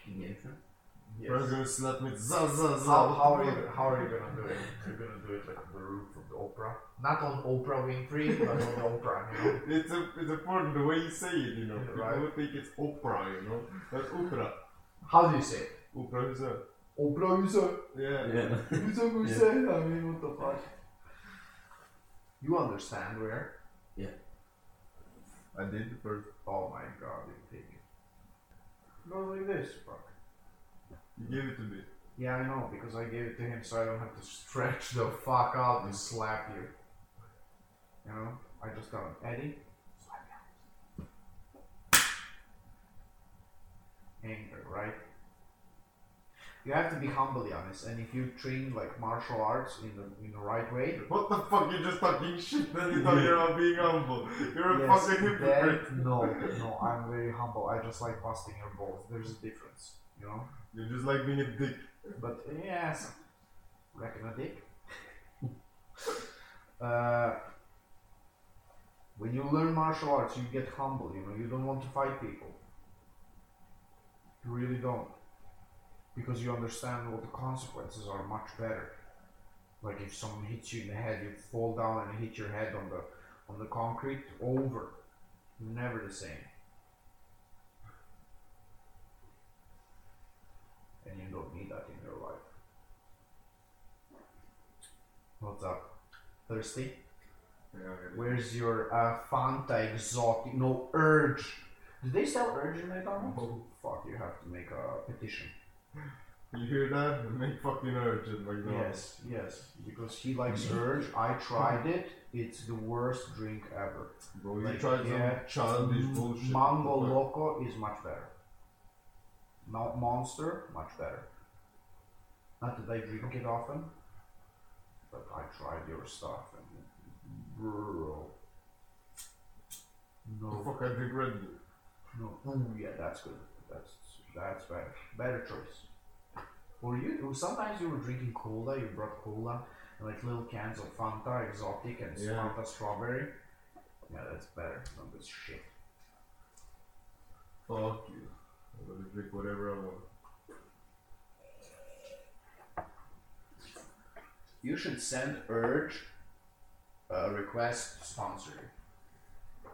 Engagement?
Yes.
Bro's gonna slap me. Za, za, za.
How, how
What
are
the
you
fuck?
how are you gonna do it? You're gonna do it like the roof of the Oprah, not on Oprah Winfrey, but on the Oprah. You know?
It's, a, it's important the way you say it, you know. People
Right.
would think it's Oprah, you know. But Oprah.
How do you say? it?
Oprah is a.
Oprah, you say,
Yeah.
Yeah.
you say, you
Yeah.
say. I mean, what the fuck? You understand where?
I did the first.
Oh my god, you think Go like this, fuck.
You gave it to me.
Yeah, I know because I gave it to him, so I don't have to stretch the fuck out and slap you. You know, I just don't. Eddie, slap me. Anger, right? You have to be humbly honest, and if you train like martial arts in the in the right way,
What the fuck? You're just talking shit and you thought you about being humble. You're a fucking hypocrite.
then, no, no, I'm very humble. I just like busting your balls. There's a difference, you know.
You're just like being a dick.
But uh, yes, reckon a dick. uh, when you learn martial arts, you get humble. You know, you don't want to fight people. You really don't, because you understand what the consequences are much better. Like if someone hits you in the head, you fall down and hit your head on the on the concrete. Over. Never the same. And you don't need that in your life.
What's up?
Thirsty?
Yeah, okay.
Where's your uh, Fanta Exotic? No, Urge. Do they sell Urge in McDonald's?
Oh.
Fuck, you have to make a petition.
You hear that? Make fucking urgent like that.
Yes, yes. Because he likes Urge. I tried it. It's the worst drink ever.
Bro, you
Like,
tried some
yeah.
childish bullshit.
Mango Loco is much better. Not Monster, much better. Not that I drink it often, but I tried your stuff and bro.
The
No,
fuck I drink Red Bull.
no. Ooh, yeah, that's good. That's that's better. Better choice. Or you sometimes you were drinking cola. You brought cola and like little cans of Fanta exotic and
Yeah.
Fanta strawberry. Yeah, that's better than this shit.
Fuck you. I'm gonna drink whatever I want.
You should send Urge a request to sponsor you.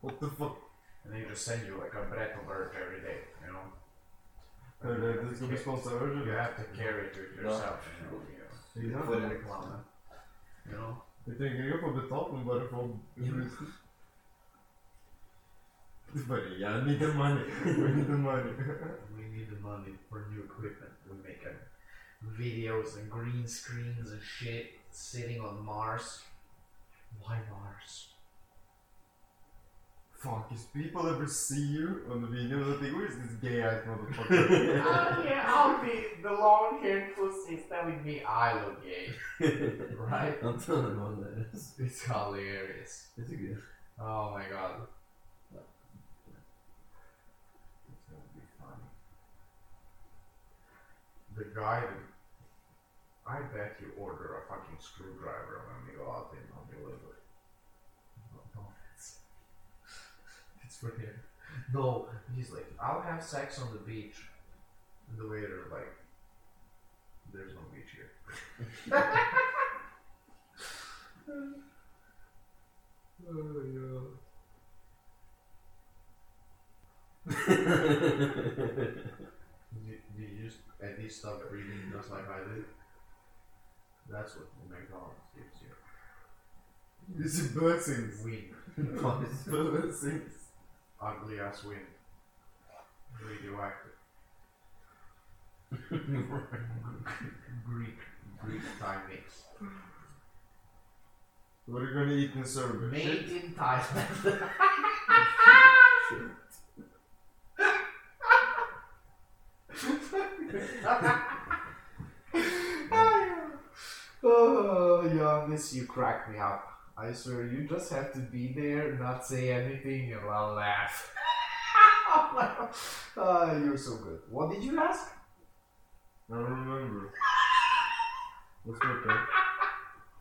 What the fuck?
And they just send you like a breath of Urge every day, you know?
Hey, that- this gonna be sponsored urgent?
You have to carry it with
No.
yourself, you know? yeah.
You know?
Put it-
Reclama. You know?
You're thinking you're probably talking about it from. Buddy, yeah, I need the money. we need the money.
We need the money for new equipment. We're making videos and green screens and shit sitting on Mars. Why Mars?
Fuck, if people ever see you on the video, they'll think, where's this gay ass motherfucker?
yeah, I'll be the long haired pussy telling me I look gay. right?
I'm telling one that is.
It's hilarious.
It's a good.
Oh my god.
It's gonna be funny. The guy that- I bet you order a fucking screwdriver when we go out in on delivery.
Oh, No offense. It's for him. No, he's like, I'll have sex on the beach.
And the waiter like, there's no beach here.
Oh yeah.
Do, do you just at least stop breathing just like I did? That's what McDonald's gives you.
It's a blessing.
Wind,
It's blessings.
ugly ass wind, radioactive. Greek, Greek Thai mix.
What are you gonna eat in Serbia?
Made in Thailand. oh Giannis, you crack me up. I swear, you just have to be there, not say anything, and I'll laugh. Ah, you're so good. What did you ask?
I don't remember. What's your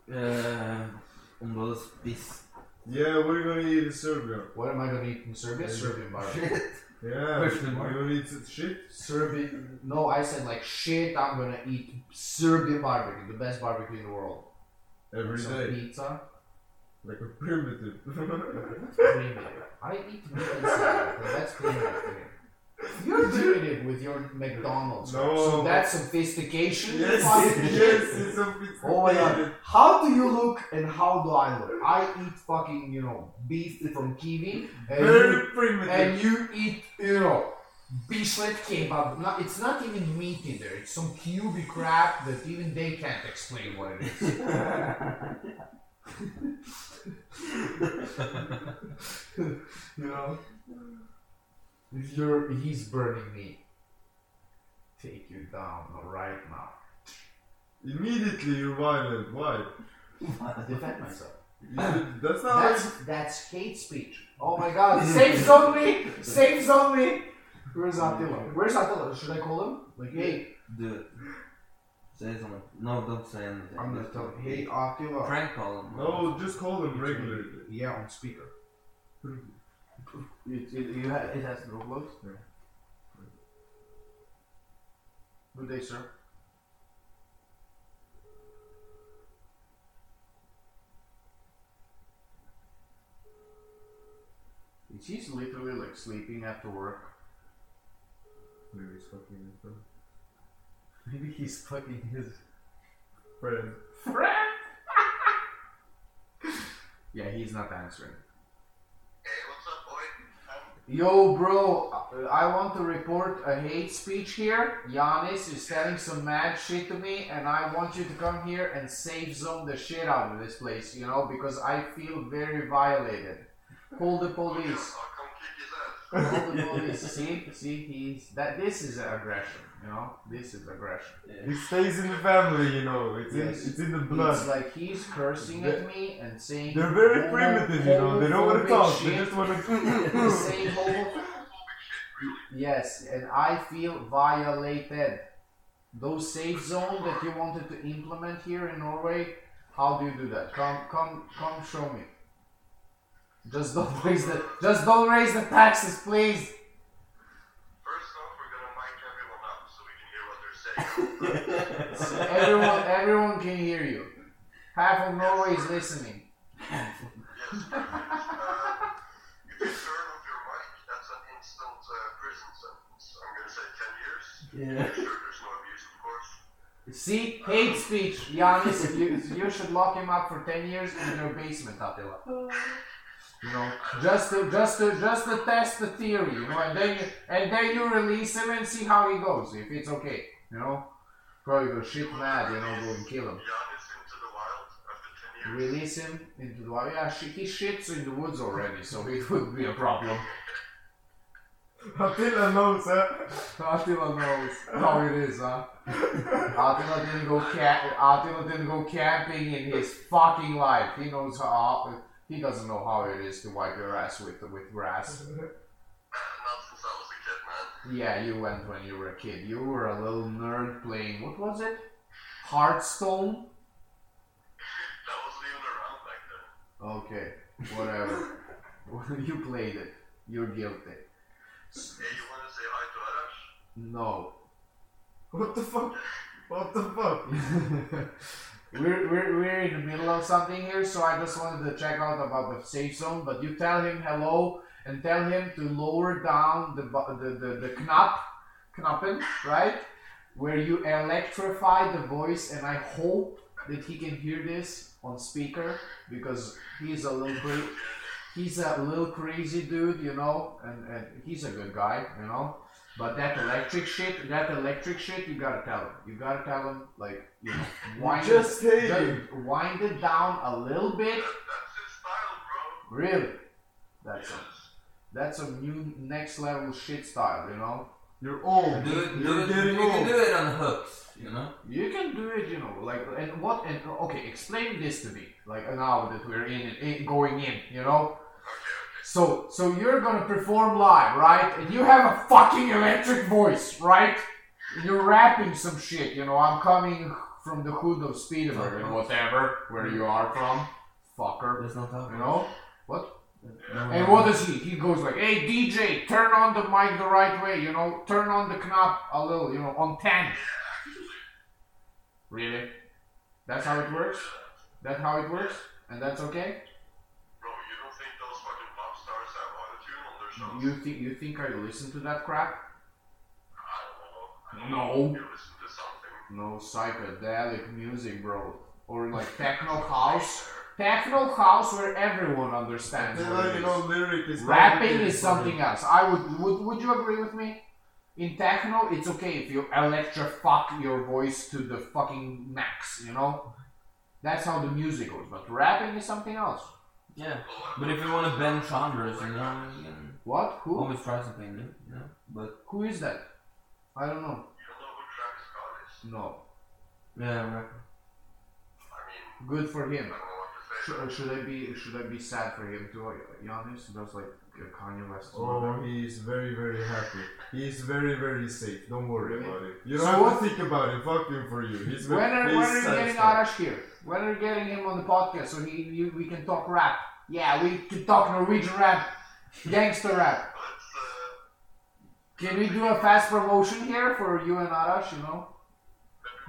turn?
Uh, område spiss.
Yeah, what are you gonna eat in Serbia?
What am I gonna eat in Serbia? Serbian barbecue.
Yeah.
Question
Are
mark.
you gonna eat some shit?
Serbian. No, I said like shit. I'm gonna eat Serbian barbecue, the best barbecue in the world.
Every
Some
day.
pizza.
Like a primitive.
Primitive. I eat pizza. but that's primitive. to me. You're primitive with your McDonald's.
No.
So that's sophistication.
yes,
Fuck you.
yes, it's a it's
Oh my god. How do you look and how do I look? I eat fucking, you know, beef from Kiwi and, you,
Very primitive.
and you eat, you know, beeflet kebab. No, it's not even meat in there. It's some cubic crap that even they can't explain what it is. you know, you're he's burning me. Take you down right now.
Immediately you're violent. Why?
I defend myself.
You should, that's not how
That's that's hate speech. Oh my god! Save zone me! Save zone me! Where's Attila? Where's Attila? Should I call him? Like, hey,
Do it. Say something. No, don't say anything.
I'm gonna
Just
tell him. Hey, Attila.
Prank call him.
No, just call them regularly.
Yeah, on speaker. It, it, you ha- it has Roblox.
Yeah.
Good day, sir.
Is he literally like sleeping after work?
Maybe it's fucking
Maybe he's fucking his
Friend.
Yeah, he's not answering.
Hey, what's up, boy? Um,
Yo, bro, uh, I want to report a hate speech here. Giannis is telling some mad shit to me, and I want you to come here and safe zone the shit out of this place, you know, because I feel very violated. Call the police.
I'll come kick his ass.
Call the police. see, see, he's that. This is aggression, you know. This is aggression.
It stays in the family, you know. It's in,
Yes.
it's in the
It's
blood.
like he's cursing at me and saying
They're very
homo-
primitive, you know. They don't want
homophobic
to talk. They
shit.
just want
the
to.
same hole. Yes, and I feel violated. Those safe zone that you wanted to implement here in Norway, how do you do that? Come, come, come, show me. Just don't raise the, just don't raise the taxes, please.
First off, we're gonna mic everyone up so we can hear what they're saying.
Everyone, everyone can hear you. Half of Norway is listening.
yes, perfect. Uh, if you turn off your mic, that's an instant uh, prison sentence. I'm gonna say
Yeah.
10 years. Make sure there's no abuse, of
See,
course.
hate speech, Giannis. You, you should lock him up for ten years in your basement, Attila. You know, just to just to just to test the theory, you know, and then you and then you release him and see how he goes. If it's okay, you know, probably go shit mad, you know, go and kill him.
Giannis into the wild after 10 years.
Release him into the wild. Yeah, shi- he shits in the woods already, so it would be a problem.
Attila knows, huh?
Attila knows how it is, huh? Attila didn't go ca- Attila didn't go camping in his fucking life. He knows how. He doesn't know how it is to wipe your ass with with grass.
Not since I was a kid, man.
Yeah, you went when you were a kid. You were a little nerd playing. What was it? Hearthstone.
That wasn't even around back then.
Okay, whatever. you played it. You're guilty.
Hey, you wanna say hi to Arash?
No.
What the fuck? What the fuck?
we're, we're, we're in the middle of something here, so I just wanted to check out about the safe zone. But you tell him hello and tell him to lower down the bu- the the, the knop, knoppen, right? Where you electrify the voice, and I hope that he can hear this on speaker because he's a little bit he's a little crazy dude, you know, and, and he's a good guy, you know. But that electric shit, that electric shit, you gotta tell him. You gotta tell him, like, you know, wind,
Just
it,
hate him.
just wind it down a little bit.
That, that's his style, bro.
Really, that's a,
Yes.
that's a new next level shit style, you know.
You're old.
Do it, do
You're
it, you
getting
can do
old.
it on hooks, you know?
You can do it, you know, like and what and okay, explain this to me, like now that we're in, in going in, you know. So so you're gonna perform live, right? And you have a fucking electric voice, right? And you're rapping some shit, you know. I'm coming from the hood of Speedberg and whatever, where you are from, fucker,
There's no
you
talking.
know. And what does he? He goes like, "Hey DJ, turn on the mic the right way, you know. Turn on the knob a little, you know, on ten. Really? That's how it works. That's how it works, and that's okay.
Bro, you don't think those fucking pop stars have autotune on their songs?
You think you think I listen to that crap?
I don't know. I don't
No.
know. You listen to something.
No psychedelic music, bro, or like techno house, techno house where everyone understands.
They're
What
like,
it is.
you know, lyric is
Rapping
complicated
is
for me.
something else. I would would would you agree with me? In techno, it's okay if you electrifuck your voice to the fucking max, you know? That's how the music goes. But rapping is something else.
Yeah. But if you want to bend genres, you know, you can
What? Who?
always try something new, you know? But,
Who is that? I don't know.
You don't know who Travis Scott is?
No.
yeah, rapper.
I mean,
Good for
I
him.
don't know what to say.
Should, should I be should I be sad for him too? Giannis does like Kanye West.
Oh, he is very, very happy. He is very, very safe. Don't worry
Really?
about it. You don't
So
have
what-
to think about it. Fuck him for you. He's
When are,
very,
when
he's
are you getting
satisfied.
Arash here? When are you getting him on the podcast so he you, we can talk rap? Yeah, we can talk Norwegian rap, gangster rap.
Let's, uh,
Can we do a fast promotion here for you and Arash? You know,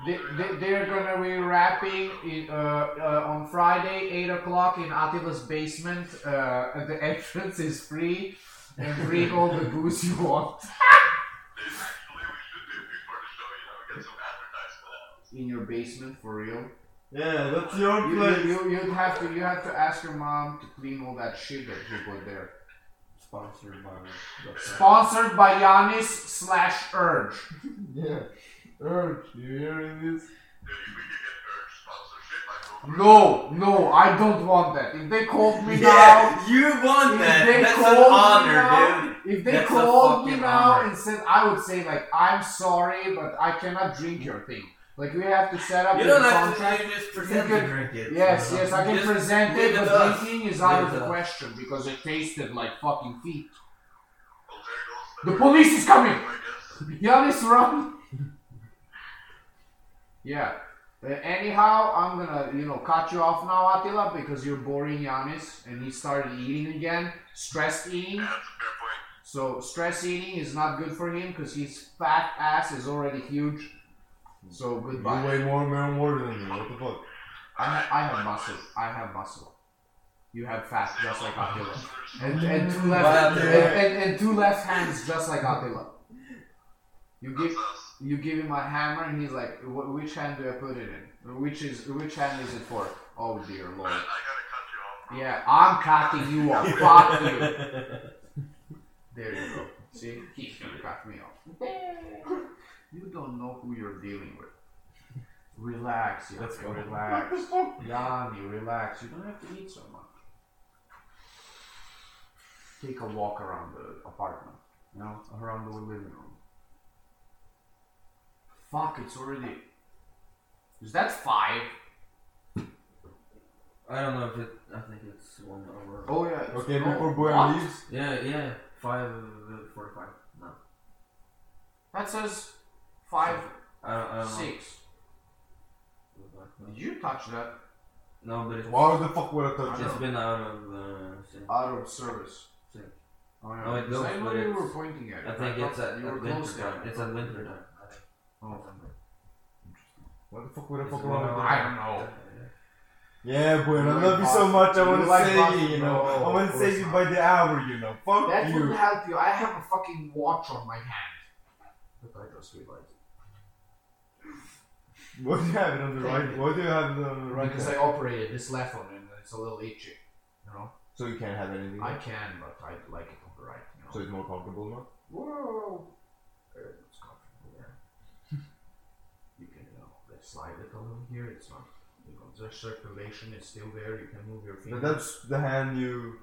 they, they, they're gonna be rapping in, uh, uh, on Friday, eight o'clock in Attila's basement. Uh, the entrance is free, and bring all the booze you want.
actually, we should do it before the show, you know, get some advertisement out.
in your basement for real.
Yeah, that's your
You,
place.
you, you, you'd have to you have to ask your mom to clean all that shit that you put there.
Sponsored by
Sponsored by Yanis slash Urge.
Yeah. Urge, you hearing this?
If we could get her sponsorship, I
No,
will.
no, I don't want that. If they called me now,
you won
if
that.
they
That's an
called me
honor,
now-
dude.
if they
That's a
called me
fucking
now
honor.
and said, I would say like, I'm sorry, but I cannot drink your thing. Like we have to set up
You
a
don't have
contract.
to. You just present
You
it.
could-
Drink it.
Yes, yes, I can
Just
present
leave
it,
it
but
up.
drinking is
Leave
out of
it
the
up.
question because it tasted like fucking feet.
Well, there goes
The police is coming!
I guess.
Giannis, run! yeah. Uh, anyhow, I'm gonna, you know, cut you off now, Attila, because you're boring Giannis, and he started eating again. Stress eating.
Yeah, that's a fair
So
point.
stress eating is not good for him because his fat ass is already huge. So goodbye.
You weigh more man water than me. What the fuck?
I, ha- I have muscle. I have muscle. You have fat, just like Attila. And, and two left
Wow.
and, and, and two left hands, just like Attila. You give
That's us.
you give him a hammer, and he's like, "Wh- which hand do I put it in? Which is which hand is it for? Oh dear
Man,
lord.
I gotta cut you off.
Yeah, I'm cutting you off. Fuck you. There you go. See, he's gonna cut me off. You don't know who you're dealing with. Relax, Yanni.
Let's go.
Relax, Yanni. Relax. You don't have to eat so much. Take a walk around the apartment. You know, around the living room. Fuck! It's already. Is that five?
I don't know if it. I think it's one hour.
Oh yeah. it's-
Okay,
no,
before
what?
Boyan leaves,
Yeah, yeah. Five uh, forty-five. No,
That says five,
I don't.
Uh,
I don't
six.
know.
Did you touch that?
No, but it's,
why the fuck would I touch
it's
it?
been out of uh, the. sync.
Out of service.
Six.
Oh, yeah.
No, it goes,
I know
but
you
it's-
were pointing at it.
I think
thought
it's at,
you
at
were
winter
close
time.
to it.
It's at winter time. I think.
Oh.
What the fuck would I
It's
fuck
been
around
out-
with
I
that?
don't know.
Yeah, boy,
You
I
like
love you so
boxing.
much. I
You
want to
like
save
boxing.
you, you know.
No,
I want
of
to save you
course
by the hour, you know. Fuck
That
you.
would help you. I have a fucking watch on my hand. But I just realized.
What do you have it on the right? What do you have it on the right?
Because
hand?
I operated this left one and it's a little itchy. You know?
so you can't have anything.
I can, but I like it on the right. You know?
so it's more comfortable now.
Whoa! There, It's comfortable there. you can you know, let's slide it a little here. It's not, you know, the circulation is still there. You can move your
But
fingers.
that's the hand you.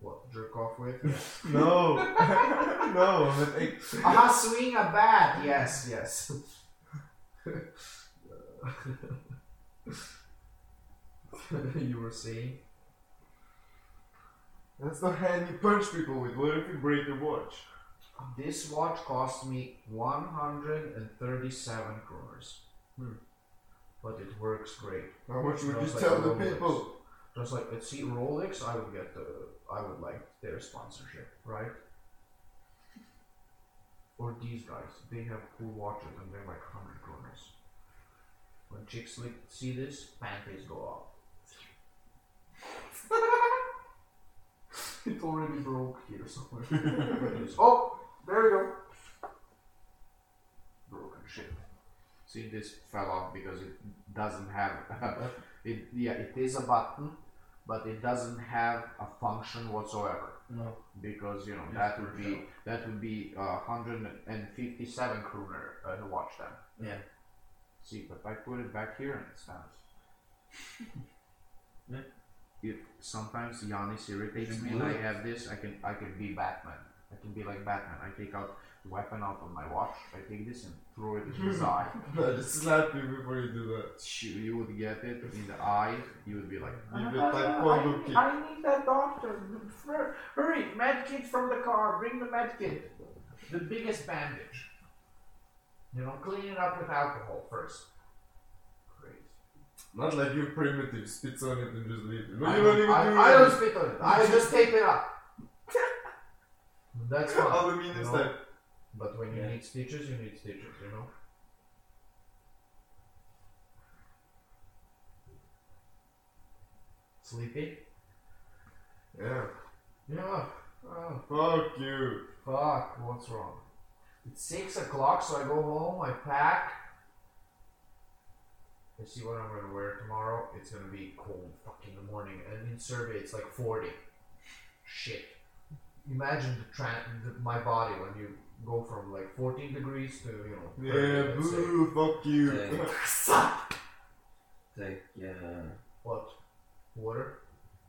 what jerk off with?
No, no. But it,
Ah, swing a bat. Yes, yes. you were saying
that's the hand you punch people with. What if you break your watch?
this watch cost me 137 kroners, but it works great.
How much would you
Sounds like
tell the
Rolex.
people?
Just like let's see Rolex, I would get the I would like their sponsorship, right? Or these guys, they have cool watches and they're like hundred kroners. When chicks like see this, panties go up. it already broke here somewhere. oh, there you go. Broken shit. See, this fell off because it doesn't have. it yeah, it is a button, but it doesn't have a function whatsoever.
No.
Because you know that would be that would be uh, 157 kroner uh, to watch them.
Yeah.
See, but I put it back here and it stands.
Yeah.
It, sometimes Giannis irritates
It's
me, and I
weird.
have this. I can I can be Batman. I can be like Batman. I take out weapon out of my watch. I take this and throw it in his eye.
No, just slap you before you do that.
Shoot, you would get it in the eye. You would be like,
Give it taekwondo kick.
need that doctor. Hur- Hurry, medkit from the car. Bring the medkit. The biggest bandage. You know, clean it up with alcohol first. Crazy.
Not like you primitive spits on it and just leave it. No,
I
you don't
don't,
even
I,
do
I
it.
don't spit on it. I just tape it up. That's fine.
Aluminum
you know?
stuff.
But when you
Yeah.
need stitches, you need stitches, you know? Sleepy?
Yeah.
Yeah. Oh,
Fuck you.
fuck. What's wrong? It's 6 o'clock, so I go home, I pack. I see what I'm gonna wear tomorrow. It's gonna be cold fucking in the morning, and in Serbia it's like 40. Shit. Imagine the, tra- the my body when you go from like 14 degrees to you know. 30,
Yeah,
let's say.
boo, fuck you.
Take, take uh,
What? Water?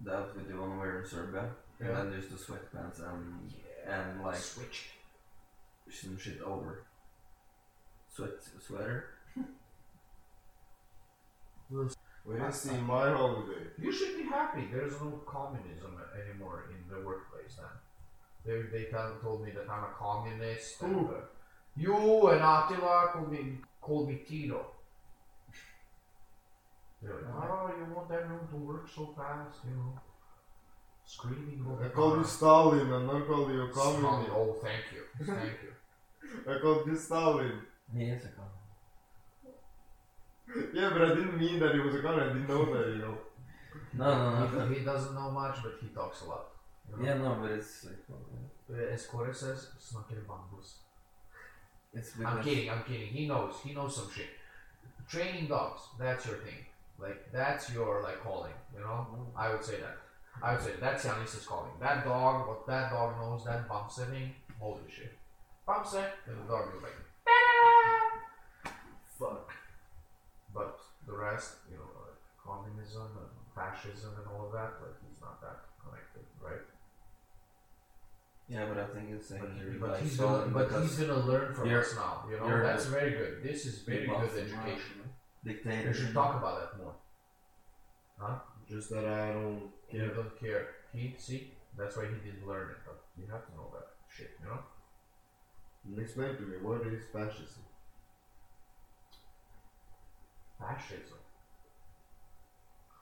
the outfit you want to wear in Serbia,
Yeah.
and then just the sweatpants and and like
Switch.
some shit over. Sweat sweater.
We didn't see my holiday.
You should be happy. There's no communism anymore in the workplace now. They they tell, told me that I'm a communist. And, uh, you and Attila called me called me Tito. They're like, oh, you want everyone to work so fast, you know, screaming all
I
the
called you
time.
Stalin and I called you a
Stalin.
communist.
Oh, thank you, thank you.
I called you Stalin.
He is a con.
Yeah, but I didn't mean that he was a communist. I didn't know that, you know.
No, no, no.
He, he doesn't know much, but he talks a lot. you know.
Yeah, no, but it's like uh,
Uh, As Corey says, it's not getting bambus.
it's
I'm
because
kidding, I'm kidding. He knows, he knows some shit. Training dogs, that's your thing. Like that's your like calling, you know? I would say that. I would say that's Yannis's calling. That dog, what that dog knows, that bump setting, holy shit. Bump set, and the dog is like "Ta-da!" Fuck. But the rest, you know, like communism and fascism and all of that, like he's not that connected, right?
yeah, but I think it's saying
But, he-
you're
but
like
he's
Stalin
gonna, but he's
because
gonna learn from
you're-
us now. You know,
you're
that's very good. This is very
you're
good
both in my-
education. We
dictator.
should talk about that more.
Just that I don't
You
care.
don't care. He see, that's why he didn't learn it. But you have to know that shit. You know,
Explain to me, what is fascism?
fascism.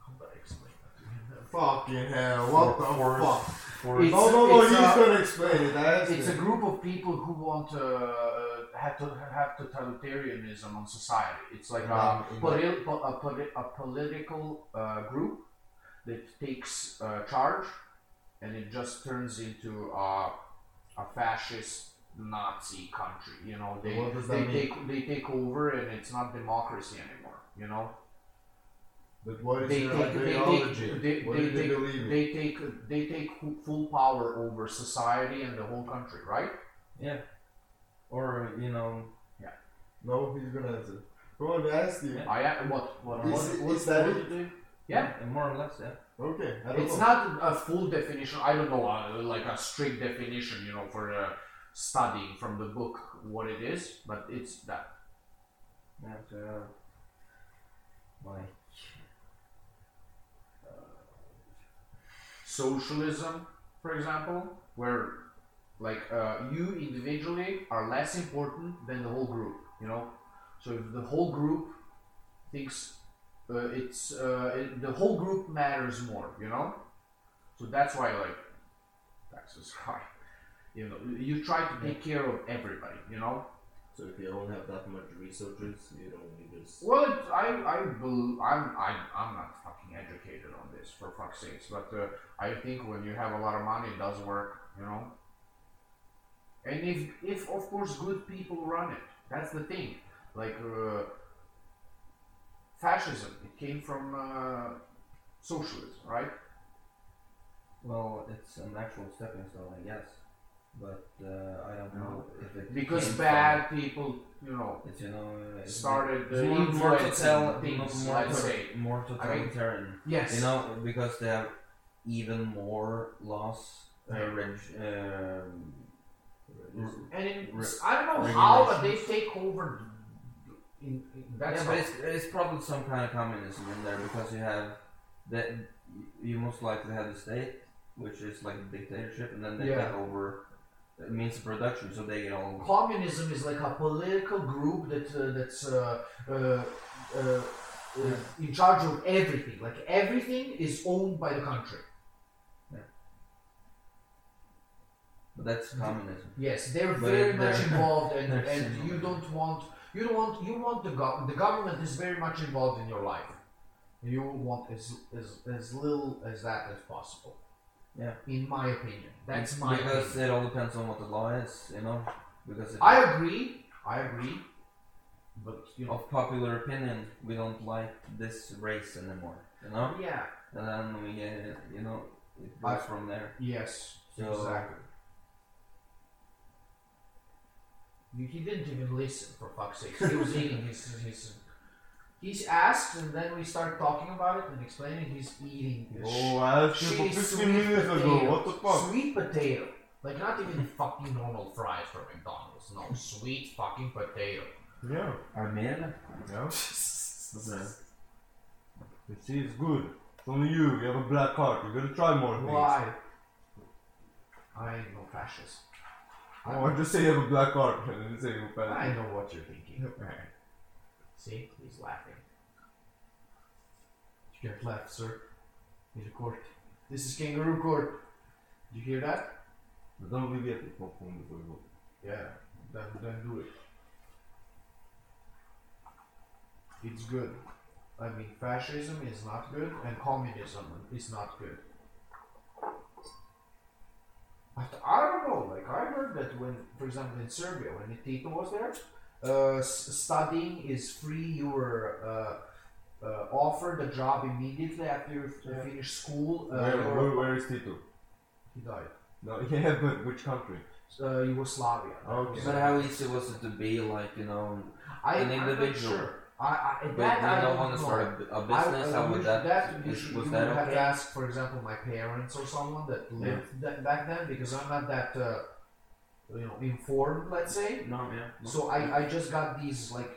How do I explain that?
Fucking hell, what the fuck?
For
It's-
no, no, no,
it's
he's
a-
gonna explain it. I asked
It's a
him.
group of people who want to uh, have to have totalitarianism on society. It's like a,
Um,
poli- po- a, poli- a political uh, group that takes uh, charge, and it just turns into a, a fascist Nazi country. You know, they
What does
they
that mean?
take they take over, and it's not democracy anymore. You know,
But what is
they
their
take they
ideology?
take they,
what
they,
do they,
take,
believe in?
they take they take fu- full power over society and the whole country, right?
Yeah, or you know,
No, he's gonna answer. Come on, I asked you.
I am- what what
Is
what,
it-
what,
is that
what
it?
do you- Yeah.
more or less, yeah.
Okay, I don't
It's
know.
not a full definition. I don't know, uh, like a strict definition, you know, for uh, studying from the book what it is, but it's that.
That uh, like
Socialism, for example, where like uh, you individually are less important than the whole group, you know. So if the whole group thinks uh, it's uh, it, the whole group matters more, you know. So that's why like taxes are high. You know, you try to take care of everybody, you know.
So if you don't have that much researchers, you don't need this.
Well, it, I, I, bel I'm, I, I'm not fucking educated on this, for fuck's sakes. But uh, I think when you have a lot of money, it does work, you know. And if, if of course, good people run it, that's the thing. Like uh, fascism, it came from uh, socialism, right?
well, it's an actual stepping stone, I guess. But uh, I don't know if it
Because
came from-
bad people, you know,
It's you know uh, it's
started
it's
uh,
more, more
influencing
total,
things,
more,
let's
total-
say.
more totalitarian.
Yes.
You know, because they have even more laws, uh, reg, um, r-
And it,
Re-
I don't know how, but they
regulations.
take over. In, in, that's
yeah,
how-
but it's, it's probably some kind of communism in there because you have that you most likely have the state, which is like a dictatorship, and then they
Yeah.
take over the means of production, so they get all.
communism is like a political group that uh, that's uh, uh, uh, uh, in charge of everything. Like everything is owned by the country.
But that's
Mm-hmm.
communism.
Yes, they're
But
very
it-
much
they're-
involved, and,
they're
and you
similar.
don't want you don't want you want the gov- the government is very much involved in your life. You want as as as little as that as possible.
Yeah.
in my opinion, that's my
because
opinion.
it all depends on what the law is, you know. Because if
I agree. I agree. But you know,
of popular opinion, we don't like this race anymore. You know,
yeah,
and then we get you know it goes from there.
yes,
So-
exactly. You- He didn't even listen for fuck's sake. He was eating his his. He's asked, and then we start talking about it and explaining. He's eating this
Oh, I asked you
Shitty
for 15 minutes ago.
potato.
What the fuck?
Sweet potato. Like not even fucking normal fries from McDonald's. No, sweet fucking potato.
Yeah.
Armenia?
Yeah. You see, it's good. It's only you. You have a black heart. You're gonna try more things.
Why? I ain't no fascist.
Oh, I just say you have a black heart. I didn't say you were
I
fat.
know what you're thinking. See, he's laughing. You get left, sir. He's a court. This is kangaroo court. Did you hear that?
Don't forget the popcorn before you go.
Yeah. Then, then do it. It's good. I mean, fascism is not good, and communism is not good. But I don't know. Like I heard that when, for example, in Serbia, when Tito was there, uh, s- studying is free. You were uh, uh, offered a job immediately after you
Yeah.
finish school. Uh,
Where,
or-
where, where is Tito?
He died.
No, yeah, but which country?
Uh, Yugoslavia.
Okay.
But how easy was it to be like you know?
I,
An
I'm not
individual.
sure. I, I,
But
that I
we
don't
don't want to
know.
start a, a business.
I,
how
you
would
should-
that?
you
is-
should,
was
you
that
would have
okay?
to ask, for example, my parents or someone that lived tha- back then because I'm not that, uh, you know, informed. Let's say.
No, yeah. no.
So I, I just got these like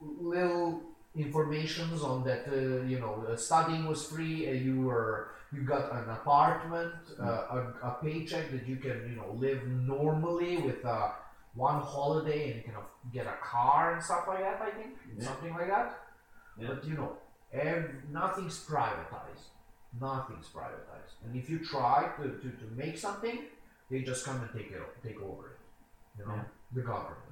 little informations on that uh, you know uh, studying was free uh, you were you got an apartment
Mm-hmm.
uh, a, a paycheck that you can you know live normally with uh, one holiday and you can af- get a car and stuff like that I think
Yeah.
something like that
Yeah.
but you know ev- nothing's privatized nothing's privatized and if you try to, to, to make something they just come and take it o- take over it you know
Yeah.
the government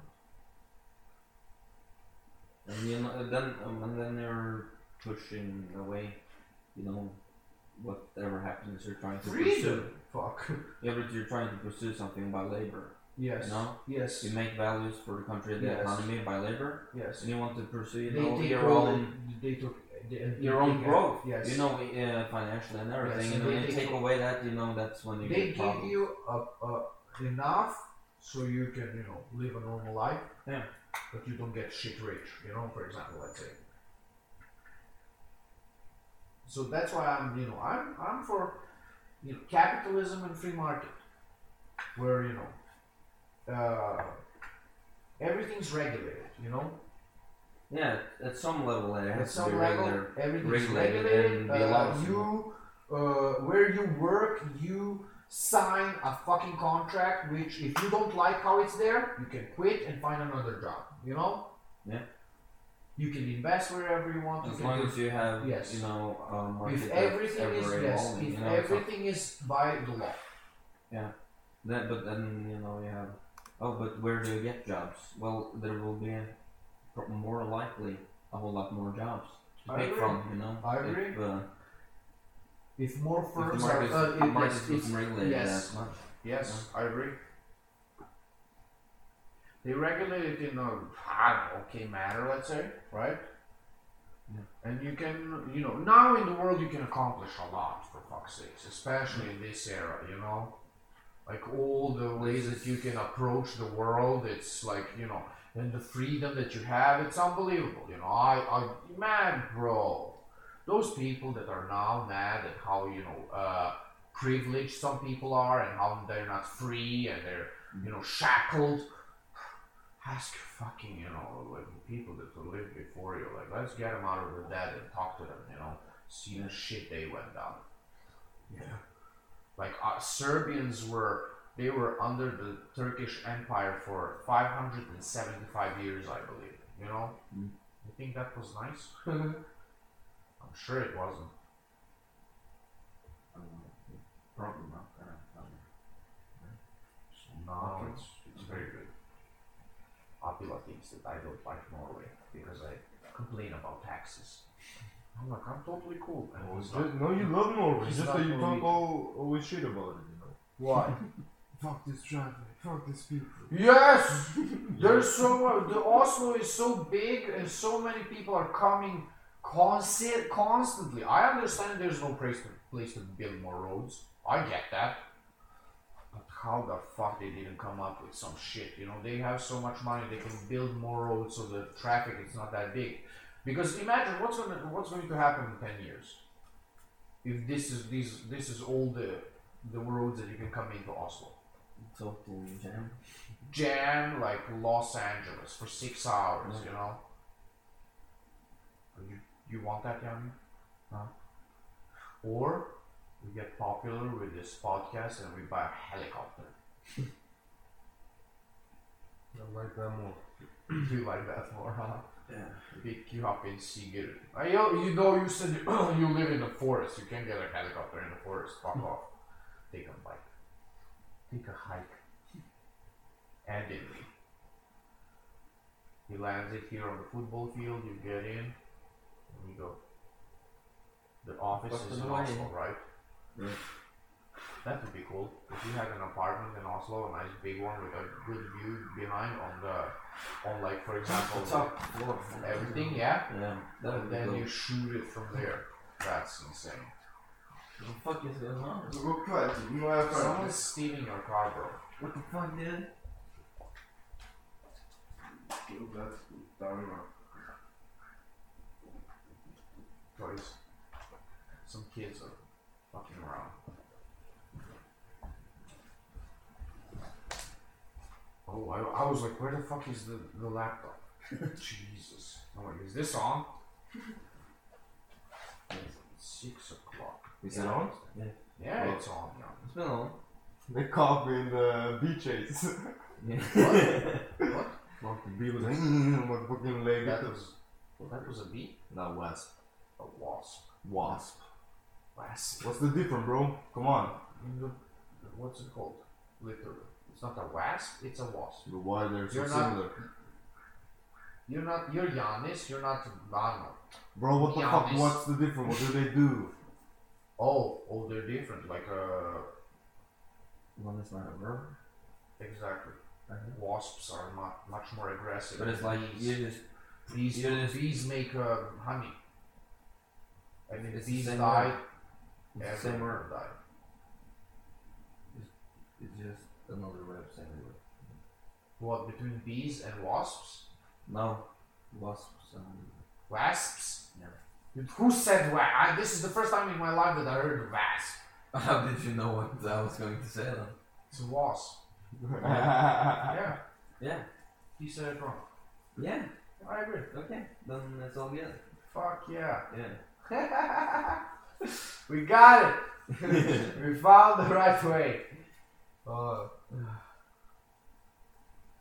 And you know, then um, and then they're pushing away, you know, whatever happens. You're trying to pursue.
Freedom. Fuck.
Yeah, but you're trying to pursue something by labor.
Yes.
You know,
Yes.
you make values for the country, the
Yes.
economy by labor,
Yes.
and you want to pursue you
they
know,
take
your
all
own
the- They took the,
your own growth.
Yes.
You know, uh, financially and everything.
Yes,
and when
they
you
take-
take away that, you know, that's when you
they
get
give
problems.
you a, a, enough so you can you know live a normal life.
Yeah.
But you don't get shit rich. You know, for example, let's say. So that's why I'm you know I'm I'm for you know capitalism and free market, where you know uh, everything's regulated. You know.
Yeah, at some level it
At
has to be
some level,
regular.
everything's
regulated
regulated.
and be allowed
Uh,
to-
you, uh, where you work, you sign a fucking contract. Which, if you don't like how it's there, you can quit and find another job. You know?
Yeah.
You can invest wherever you want. you
As
can
long
do-
as you have,
Yes.
you know, a market
if
that's
everything is
ever
yes,
evolving,
if
you know, it's not-
everything is by the law,
That, but then you know you have. Oh, but where do you get jobs? Well, there will be pro- more likely a whole lot more jobs to
I
pick
agree.
from. You know,
I
if,
agree.
Uh,
if more
if the
firms are,
market
uh, it-
market
it's-
isn't
it's-
regulated
yes.
as much.
yes,
I agree.
they regulate it in a
I don't know, okay matter, let's say, right?
Yeah.
And you can, you know, now in the world you can accomplish a lot, for fuck's sakes, especially in this era, you know? Like all the ways that you can approach the world, it's like, you know, and the freedom that you have, it's unbelievable, you know? I, I, man, bro, those people that are now mad at how, you know, uh, privileged some people are and how they're not free and they're, you know, shackled ask your fucking, you know, like the people that lived before you. Like, let's get them out of the dead and talk to them, you know, see the shit they went down. Yeah. Like, uh, Serbians were, they were under the Turkish Empire for 575 years, I believe, you know?
Mm.
You think that was nice? I'm sure it wasn't.
Probably not. I don't know.
So now it's, it's very good. Apila thinks that I don't like Norway because I complain about taxes. I'm like, I'm totally cool. And he's
Just,
like,
no, you love Norway.
He's
Just
not
that you
Norwegian.
talk all always shit about it, you know.
Why?
Fuck this traffic. Fuck this people.
Yes, there's so much. The Oslo is so big, and so many people are coming consi- constantly. I understand there's no place to place to build more roads. I get that, but how the fuck they didn't come up with some shit? You know, they have so much money, they can build more roads, so the traffic is not that big. Because imagine what's going to what's going to happen in ten years if this is these this is all the the roads that you can come into Oslo
Totally jam.
jam like Los Angeles for six hours, you know. You, you want that, Yanni? No. Or we get popular with this podcast and we buy a helicopter.
I like that more.
you like that more, huh?
Yeah.
Pick you up in Sigurd. I, you you know, you said you live in the forest. You can't get a helicopter in the forest. Fuck
Hmm.
off. Take a bike. Take a hike. And in me. He lands it here on the football field. You get in. And you go. The office
What's
is
the
in
way?
Oslo, right? That would be cool. If you had an apartment in Oslo, a nice big one with a good view behind on the, on like for example,
What's up? What?
everything, yeah.
Yeah. That would
And
be
then
cool.
you shoot it from there. That's insane.
What the fuck is going on?
So go cut. You know I have
Someone's stealing your car, bro.
What the fuck, dude?
That's down now.
Toys. Some kids are fucking around. Oh, I, I was like, where the fuck is the, the laptop? Jesus. I'm like, is this on? Six o'clock.
Is it on?
Yeah, it's on now.
It's been on.
They caught me in the beach chase.
Yeah.
Fuck the bee was like, "Mm, my fucking leg.
That was, that was a bee?
Not wasp.
A wasp.
Wasp.
Wasp.
What's the difference, bro? Come on.
What's it called? Literally. It's not a wasp, it's a wasp.
But why they're so
You're not-
similar?
You're not. You're Giannis. You're not Ronald.
Bro, what the
Be
fuck?
honest.
What's the difference? What do they do?
Oh, oh, they're different. Like uh,
One is not a verb.
exactly.
Uh-huh.
Wasps are mu- much more aggressive.
But it's like you
bees.
just
Bees,
you just-
bees make uh, honey. And if
It's the
bees
same
die,
it's the same
everyone
word.
will die.
It's just another way of saying the word.
What between bees and wasps?
No. Wasps and
Wasps?
Never.
Who said wa- I This is the first time in my life that I heard wasp.
How did you know what I was going to say then?
It's a wasp. yeah,
Uh, Yeah.
he said it wrong.
Yeah.
I agree.
Okay. Then it's all good.
Fuck yeah.
Yeah.
we got it. we found the right way. Uh,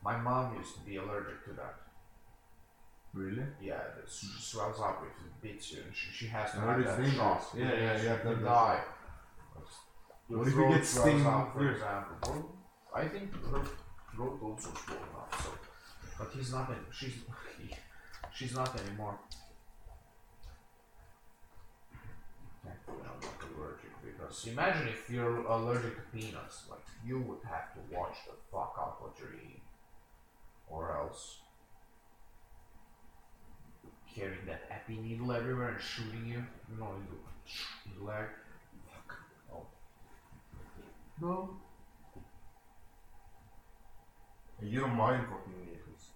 my mom used to be allergic to that.
really?
Yeah, that she swells up if it bits you, and she, she has to
I
have
heard
that
it's
shot.
dangerous. Yeah, yeah, yeah,
You
that-
die.
What
Your
if you
throat
get
swells
sting
up, for
first?
example? Well, I think her throat also swollen up. So, but he's not. Any, she's he- she's not anymore. Thankfully, I'm not allergic because imagine if you're allergic to peanuts, like you would have to watch the fuck out what you're eating, or else carrying that epi needle everywhere and shooting you, you know, you go, your leg. Fuck. Oh.
No. You don't mind fucking needles.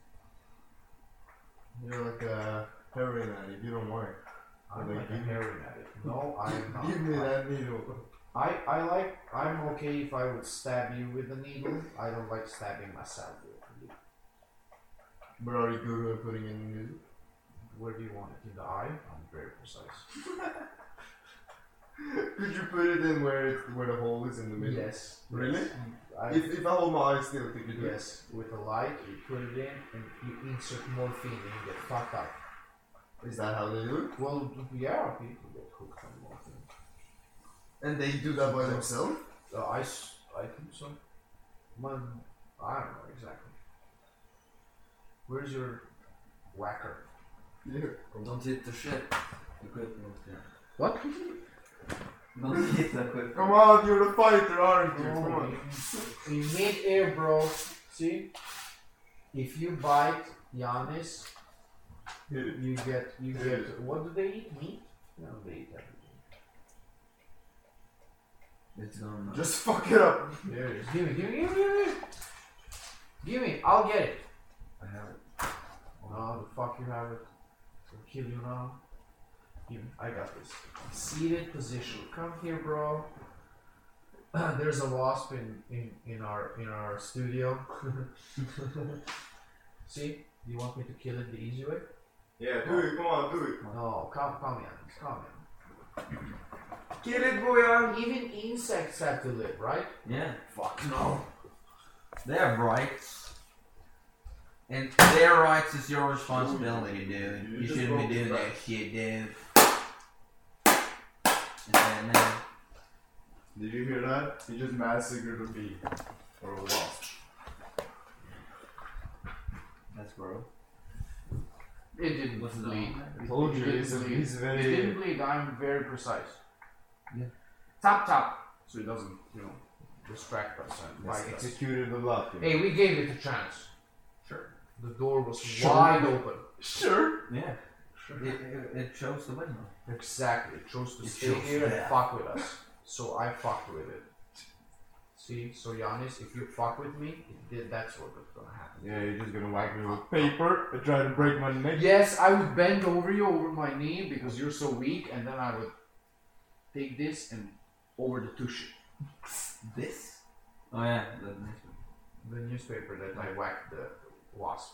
You're like a heroin addict. You don't mind.
I'm
Like
like a
you-
heroin addict. No, I am not.
Give me that needle.
I, I like, I'm okay if I would stab you with a needle. I don't like stabbing myself with a needle.
But are you good at putting in the needle?
Where do you want it? In the eye? I'm very precise.
Could you put it in where it, where the hole is in the middle?
Yes.
Really?
I,
If, if I hold my eyes still, could you do it?
yes. With a light, you put it in and you insert morphine and you get fucked up.
Is that how they do
Well, yeah, people get hooked on morphine.
it? And they do that by themselves?
Uh, I, s- I think so. My, I don't know exactly. Where's your whacker?
Yeah.
Don't hit the shit. Equipment. Yeah.
What?
Don't hit that quick.
Come on, you're a fighter,
Oh,
aren't you? Come on.
In mid-air, bro. See, if you bite Giannis,
Hit it.
you get you get. What do they eat? Meat? No, they eat
It's gone.
Just fuck it up.
everything. There it is. Give me, give me, give me, give me. Give me. I'll get it.
I have it.
No, the fuck you have it. I'll kill you now. Give me. I got this. Seated position. Come here, bro. There's a wasp in, in, in our in our studio. See? You want me to kill it the easy way?
Yeah, do it. Come on, do it.
No, come, come in, come
Get it, boy.
in. Even insects have to live, right?
Yeah,
Fuck no.
they have rights. And their rights is your responsibility, dude. You,
You just
shouldn't be
broke
doing
the
that shit, dude. And then, uh,
Did you hear that? He just massacred a bee. Or a wasp.
that's gross.
It didn't
What's it
bleed.
on?
I told you,
It
he's,
didn't
he's
It didn't
very.
bleed. I'm very precise.
Yeah.
Tap tap.
So he doesn't, you know,
Distract us. and
It's
bite us.
executed a lot. you know.
Hey, we gave it a chance.
Sure.
The door was
Sure.
wide open.
Sure.
Yeah. It, it, it shows the window.
Exactly. It chose to
It
stay
chose
here and
that.
fuck with us. So I fucked with it. See, so Giannis, if you fuck with me, it did, that's what's gonna happen.
Yeah, you're just gonna whack me with.
Paper. I tried to break my neck.
Yes, I would bend over you over my knee because you're so weak, and then I would take this and over the tushy.
This? Oh yeah, the next one.
The newspaper that I whacked the wasp.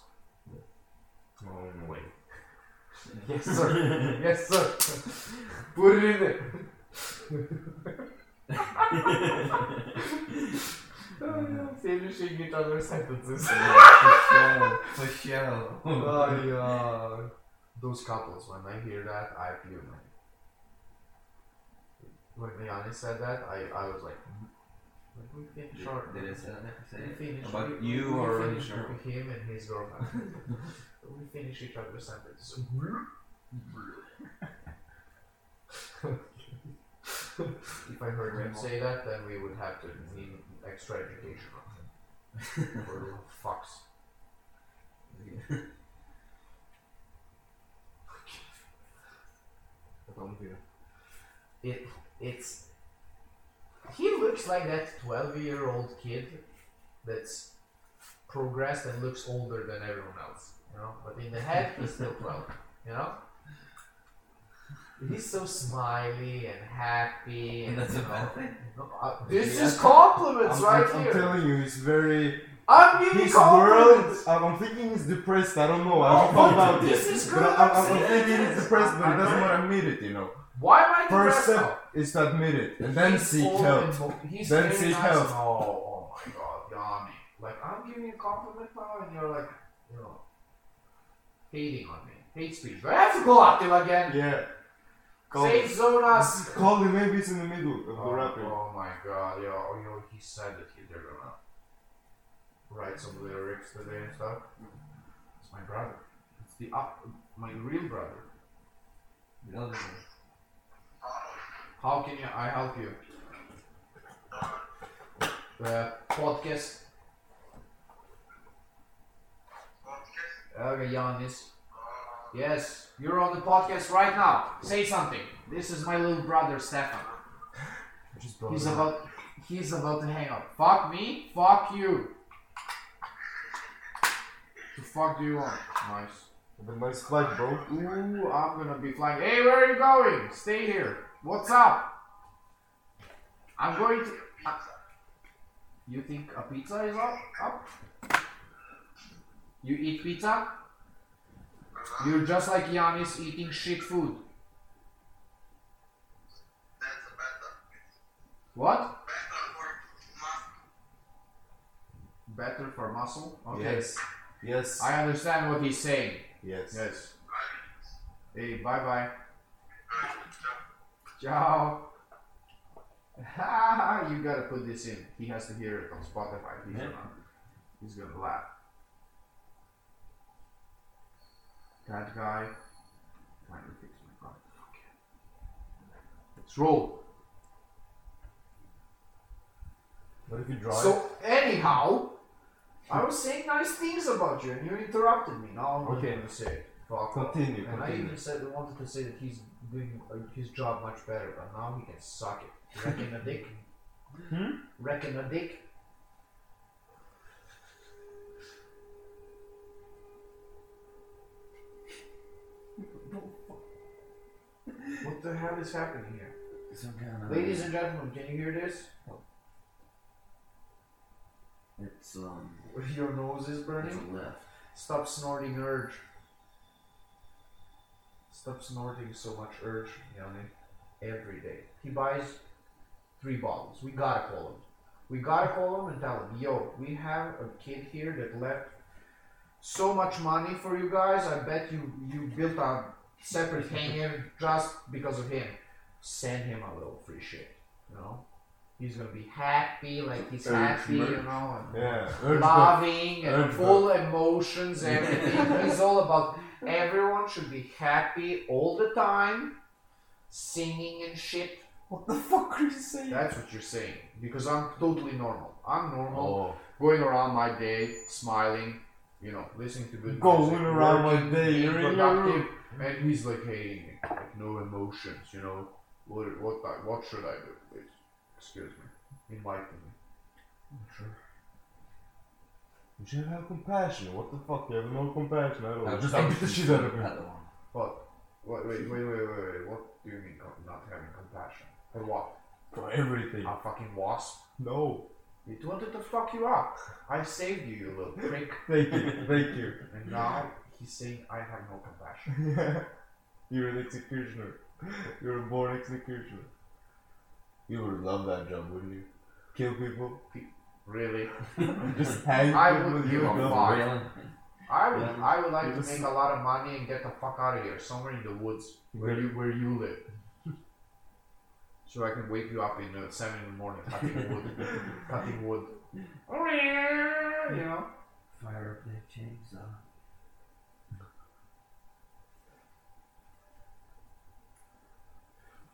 Oh, wait.
Yes, sir. yes, sir. Put it in there. Finishing each other's sentences.
Yeah, for show. For show.
oh, yeah. Those couples, when I hear that, I feel man. When Giannis said that, I, I was like, "Mm, we finish our
Did it say that? Say
we
it?
finish
About
we-
you
we
or
finish
her?
with him and his girlfriend. we finish each other's sentences. if I heard him say that, then we would have to need extra education on him. For little fucks. It it's he looks like that twelve year old kid that's progressed and looks older than everyone else, you know. But in the head, he's still twelve, you know. He's so smiley and happy, and
That's
you
a bad
know,
thing.
no, uh, this
Yeah.
is compliments
I'm,
right
I'm, I'm
here.
telling you, he's very.
I'm giving
His
compliments.
world. I'm, I'm thinking he's depressed. I don't know. I
Oh,
haven't found
but
out
this
yet.
is
But
good,
I'm, I'm,
I'm
I'm
saying
thinking
it
he's
is.
depressed, but
I'm
he doesn't
not-
want to admit it. You know.
Why am I
First
depressed now?
step is to admit it, and then
He's
seek
old
help.
and mo- he's
Then
very
seek
nice
help.
and- Oh, oh my god, Yanni. Like, I'm giving you a compliment now, and you're like, you know, hating on me. Hate speech. But I have to go at him again.
Yeah. Call,
Safe zone us.
call him. Maybe it's in the middle of the
Oh,
rapping.
oh my god, yo, oh, yo, he said that he, they're gonna write some lyrics today and stuff. It's my brother. It's the up, my real brother.
The other one.
How can you, I help you? The podcast. Okay, Giannis. Yes, you're on the podcast right now. Say something. This is my little brother Stefan. He's about he's about to hang up. Fuck me, fuck you. The fuck do you want? Nice.
The nice flag, bro.
Ooh, I'm gonna be flying. Hey, where are you going? Stay here. What's up? I'm going to. I- you think a pizza is up? Up? You eat pizza? You're just like Giannis eating shit food. What? Better for muscle? Okay.
Yes. Yes.
I understand what he's saying.
yes.
Yes. Hey, bye bye. Ciao. Ha, you gotta put this in. He has to hear it on Spotify. He's,
Yeah.
gonna, he's gonna laugh. That guy. Finally fixed my problem. Okay. Let's roll.
What if you drive?
So anyhow, I was saying nice things about you, and you interrupted me. Now I'm
Okay.
going to say it. Fuck.
continue,
And I
continue.
even said I wanted to say that he's doing uh, his job much better, but now he can suck it. Reckon a dick.
Hmm?
Reckon a dick.
What the hell is happening here?
Some kind
Uh-huh.
of.
Ladies and gentlemen, can you hear this?
It's um.
Your nose is
It's
burning.
a left.
Stop snorting urge. Stop snorting so much urge, Yanni. Every day. He buys three bottles. We gotta call him. We gotta call him and tell him, yo, we have a kid here that left so much money for you guys. I bet you you built a separate hangar just because of him. Send him a little free shit, you know? He's gonna be happy, like he's
Urge
happy, you
merch.
know, and
yeah.
loving and
Everybody.
full emotions, everything. He's all about everyone should be happy all the time, singing and shit.
What the fuck are you saying?
That's what you're saying. Because I'm totally normal. I'm normal,
Oh.
going around my day, smiling, you know, listening to good
Going
music,
around my
working,
day,
being
you're in your
productive, and he's like hating me, like no emotions, you know. What what I- what should I do? Please, excuse me, enlighten me.
You should have compassion. What the fuck? You have no compassion at all.
I
just beat the shit out of him.
Other one.
What? Wait, wait, wait, wait, wait, wait. What do you mean com- not having compassion? For what?
For everything.
A fucking wasp?
No.
It wanted to fuck you up. I saved you, you little prick.
Thank you. Thank you.
And now he's saying I have no compassion.
You're an executioner. You're a born executioner. You would love that job, wouldn't you? Kill people.
Really?
Just hang
I
people
would
with
give
your
a
gun.
fuck.
Really?
I would, I would like
You
to
just-
make a lot of money and get the fuck out of here, somewhere in the woods, where you where you live. So I can wake you up in uh, seven in the morning, cutting wood, cutting wood. You know.
Fire up that chainsaw.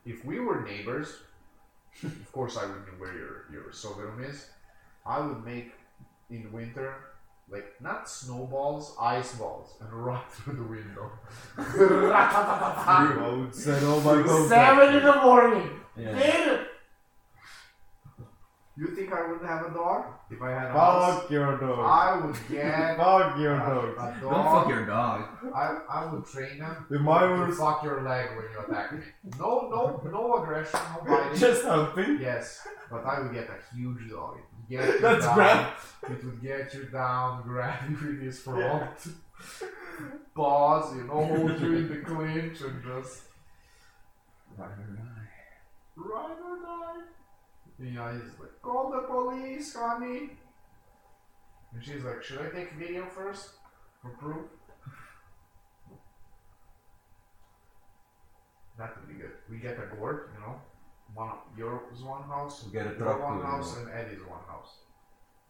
If we were neighbors, of course I would know where your your sovietum is. I would make in winter like not snowballs, ice balls, and run through the window.
I would set all my contacts.
Seven in the morning.
Yeah.
Dude! You think I wouldn't have a dog if I had a house?
Fuck your dog.
I would get
Fuck
a,
your
a
dog.
Don't fuck
dog.
your dog.
I, I would train him.
If my
to
was
fuck your leg when you attack me. No, no, no aggression, no biting.
just helping,
Yes, but I would get a huge dog. It would get you
That's
down.
grand.
It would get you down, grab you in his front, paws, you know, hold you in the clinch, and just
Right or die.
ride or die. You know, he's like, call the police, honey. And she's like, should I take video first for proof? That would be good. We get a gourd, you know, one yours one house,
You get a uh,
your
truck
one
too,
house, and Eddie's one house.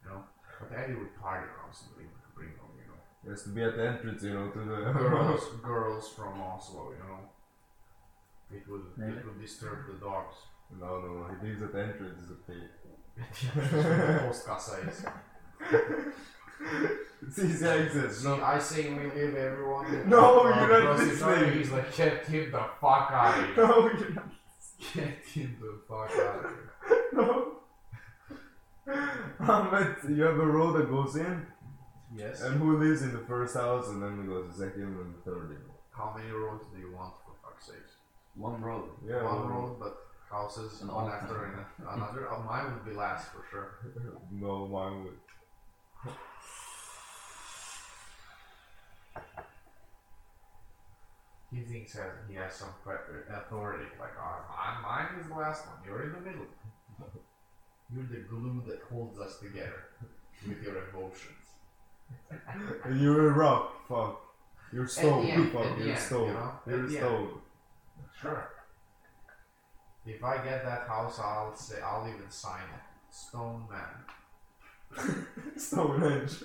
You know, but Eddie would party around somebody would bring home, you know,
It has to be at the entrance, you know, to the.
girls, girls from Oslo, you know. It would
Really?
it would disturb the dogs.
no, no, no, he leaves at the entrance, it's okay.
Post casa is.
It's easy access,
See,
no.
I say we leave everyone.
No,
Uh,
you're not
because it's not-
listening.
He's like, get him the fuck out of here.
No, you're not.
Get him the fuck out of here.
No. Ahmed, you have a road that goes in,
Yes.
and who lives in the first house, and then we go to the second and the third. you know.
How many roads do you want for fuck's sake?
One road.
Yeah,
One
no,
road, but houses
An
one
old-
after an- another. Uh, mine would be last for sure.
No, mine would.
He thinks that he has some pre- authority. Like, oh, mine, mine is the last one. You're in the middle. You're the glue that holds us together with your emotions.
And you're a rock, fuck. You're stone,
end, at
fuck.
the
You're
end,
stone.
you know?
You're
At the end.
stone.
Sure. If I get that house, I'll say I'll even sign it. Stone Man.
Stonehenge.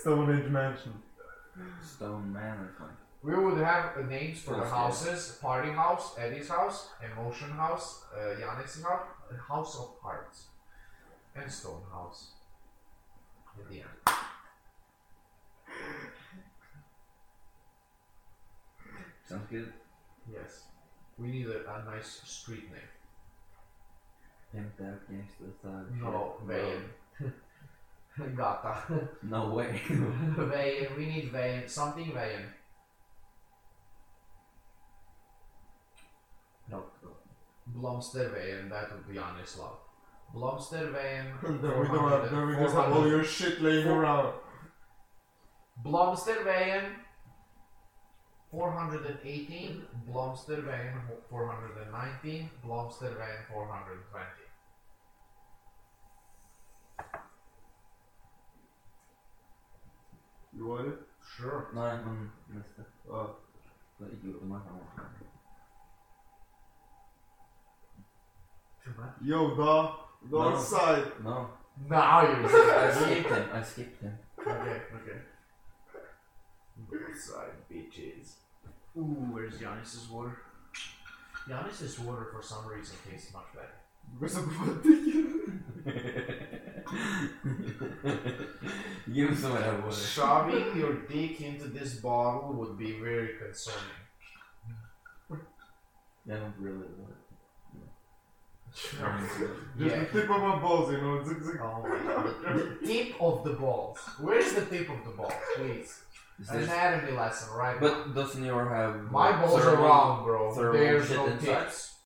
Stonehenge Mansion.
Stone man or something.
We would have uh, names for the
Okay.
houses: Party House, Eddie's House, Emotion House, uh, Yannis's House, and House of Hearts. and Stonehouse. In the end.
Sounds good.
Yes. We need a, a nice street name.
Pimped out gangster thug.
No, Vayne. Gata.
No way.
Vayne. We need Vayne. Something Vayne.
no.
Blomster Vayne. That would be honest love. Blomster Vayne.
Then we don't have, then we just have all your shit laying around.
Blomster Vayne. 418. Blomster Vayne. 419. Blomster Vayne. 420.
You want it?
Sure.
No, I'm missed it.
Oh.
But you open my phone.
Too much.
Yo, dog. Go
No.
outside.
No.
Now you're
I
serious.
skipped him. I skipped him.
okay, okay. Side bitches. Ooh, where's Giannis's water? Giannis's water for some reason tastes much better.
Because I'm fucking
Give him some of that water.
Shoving your dick into this bottle would be very concerning.
They don't really want
Just
Yeah.
the tip of my balls, you know. Zig, zig.
Oh my god. The tip of the balls. Where's the tip of the balls, please?
it. Is this-
Anatomy lesson, right? now.
But doesn't your have
my balls are
thermal-
wrong, bro.
thermal
There's
shit
no
inside?
tips.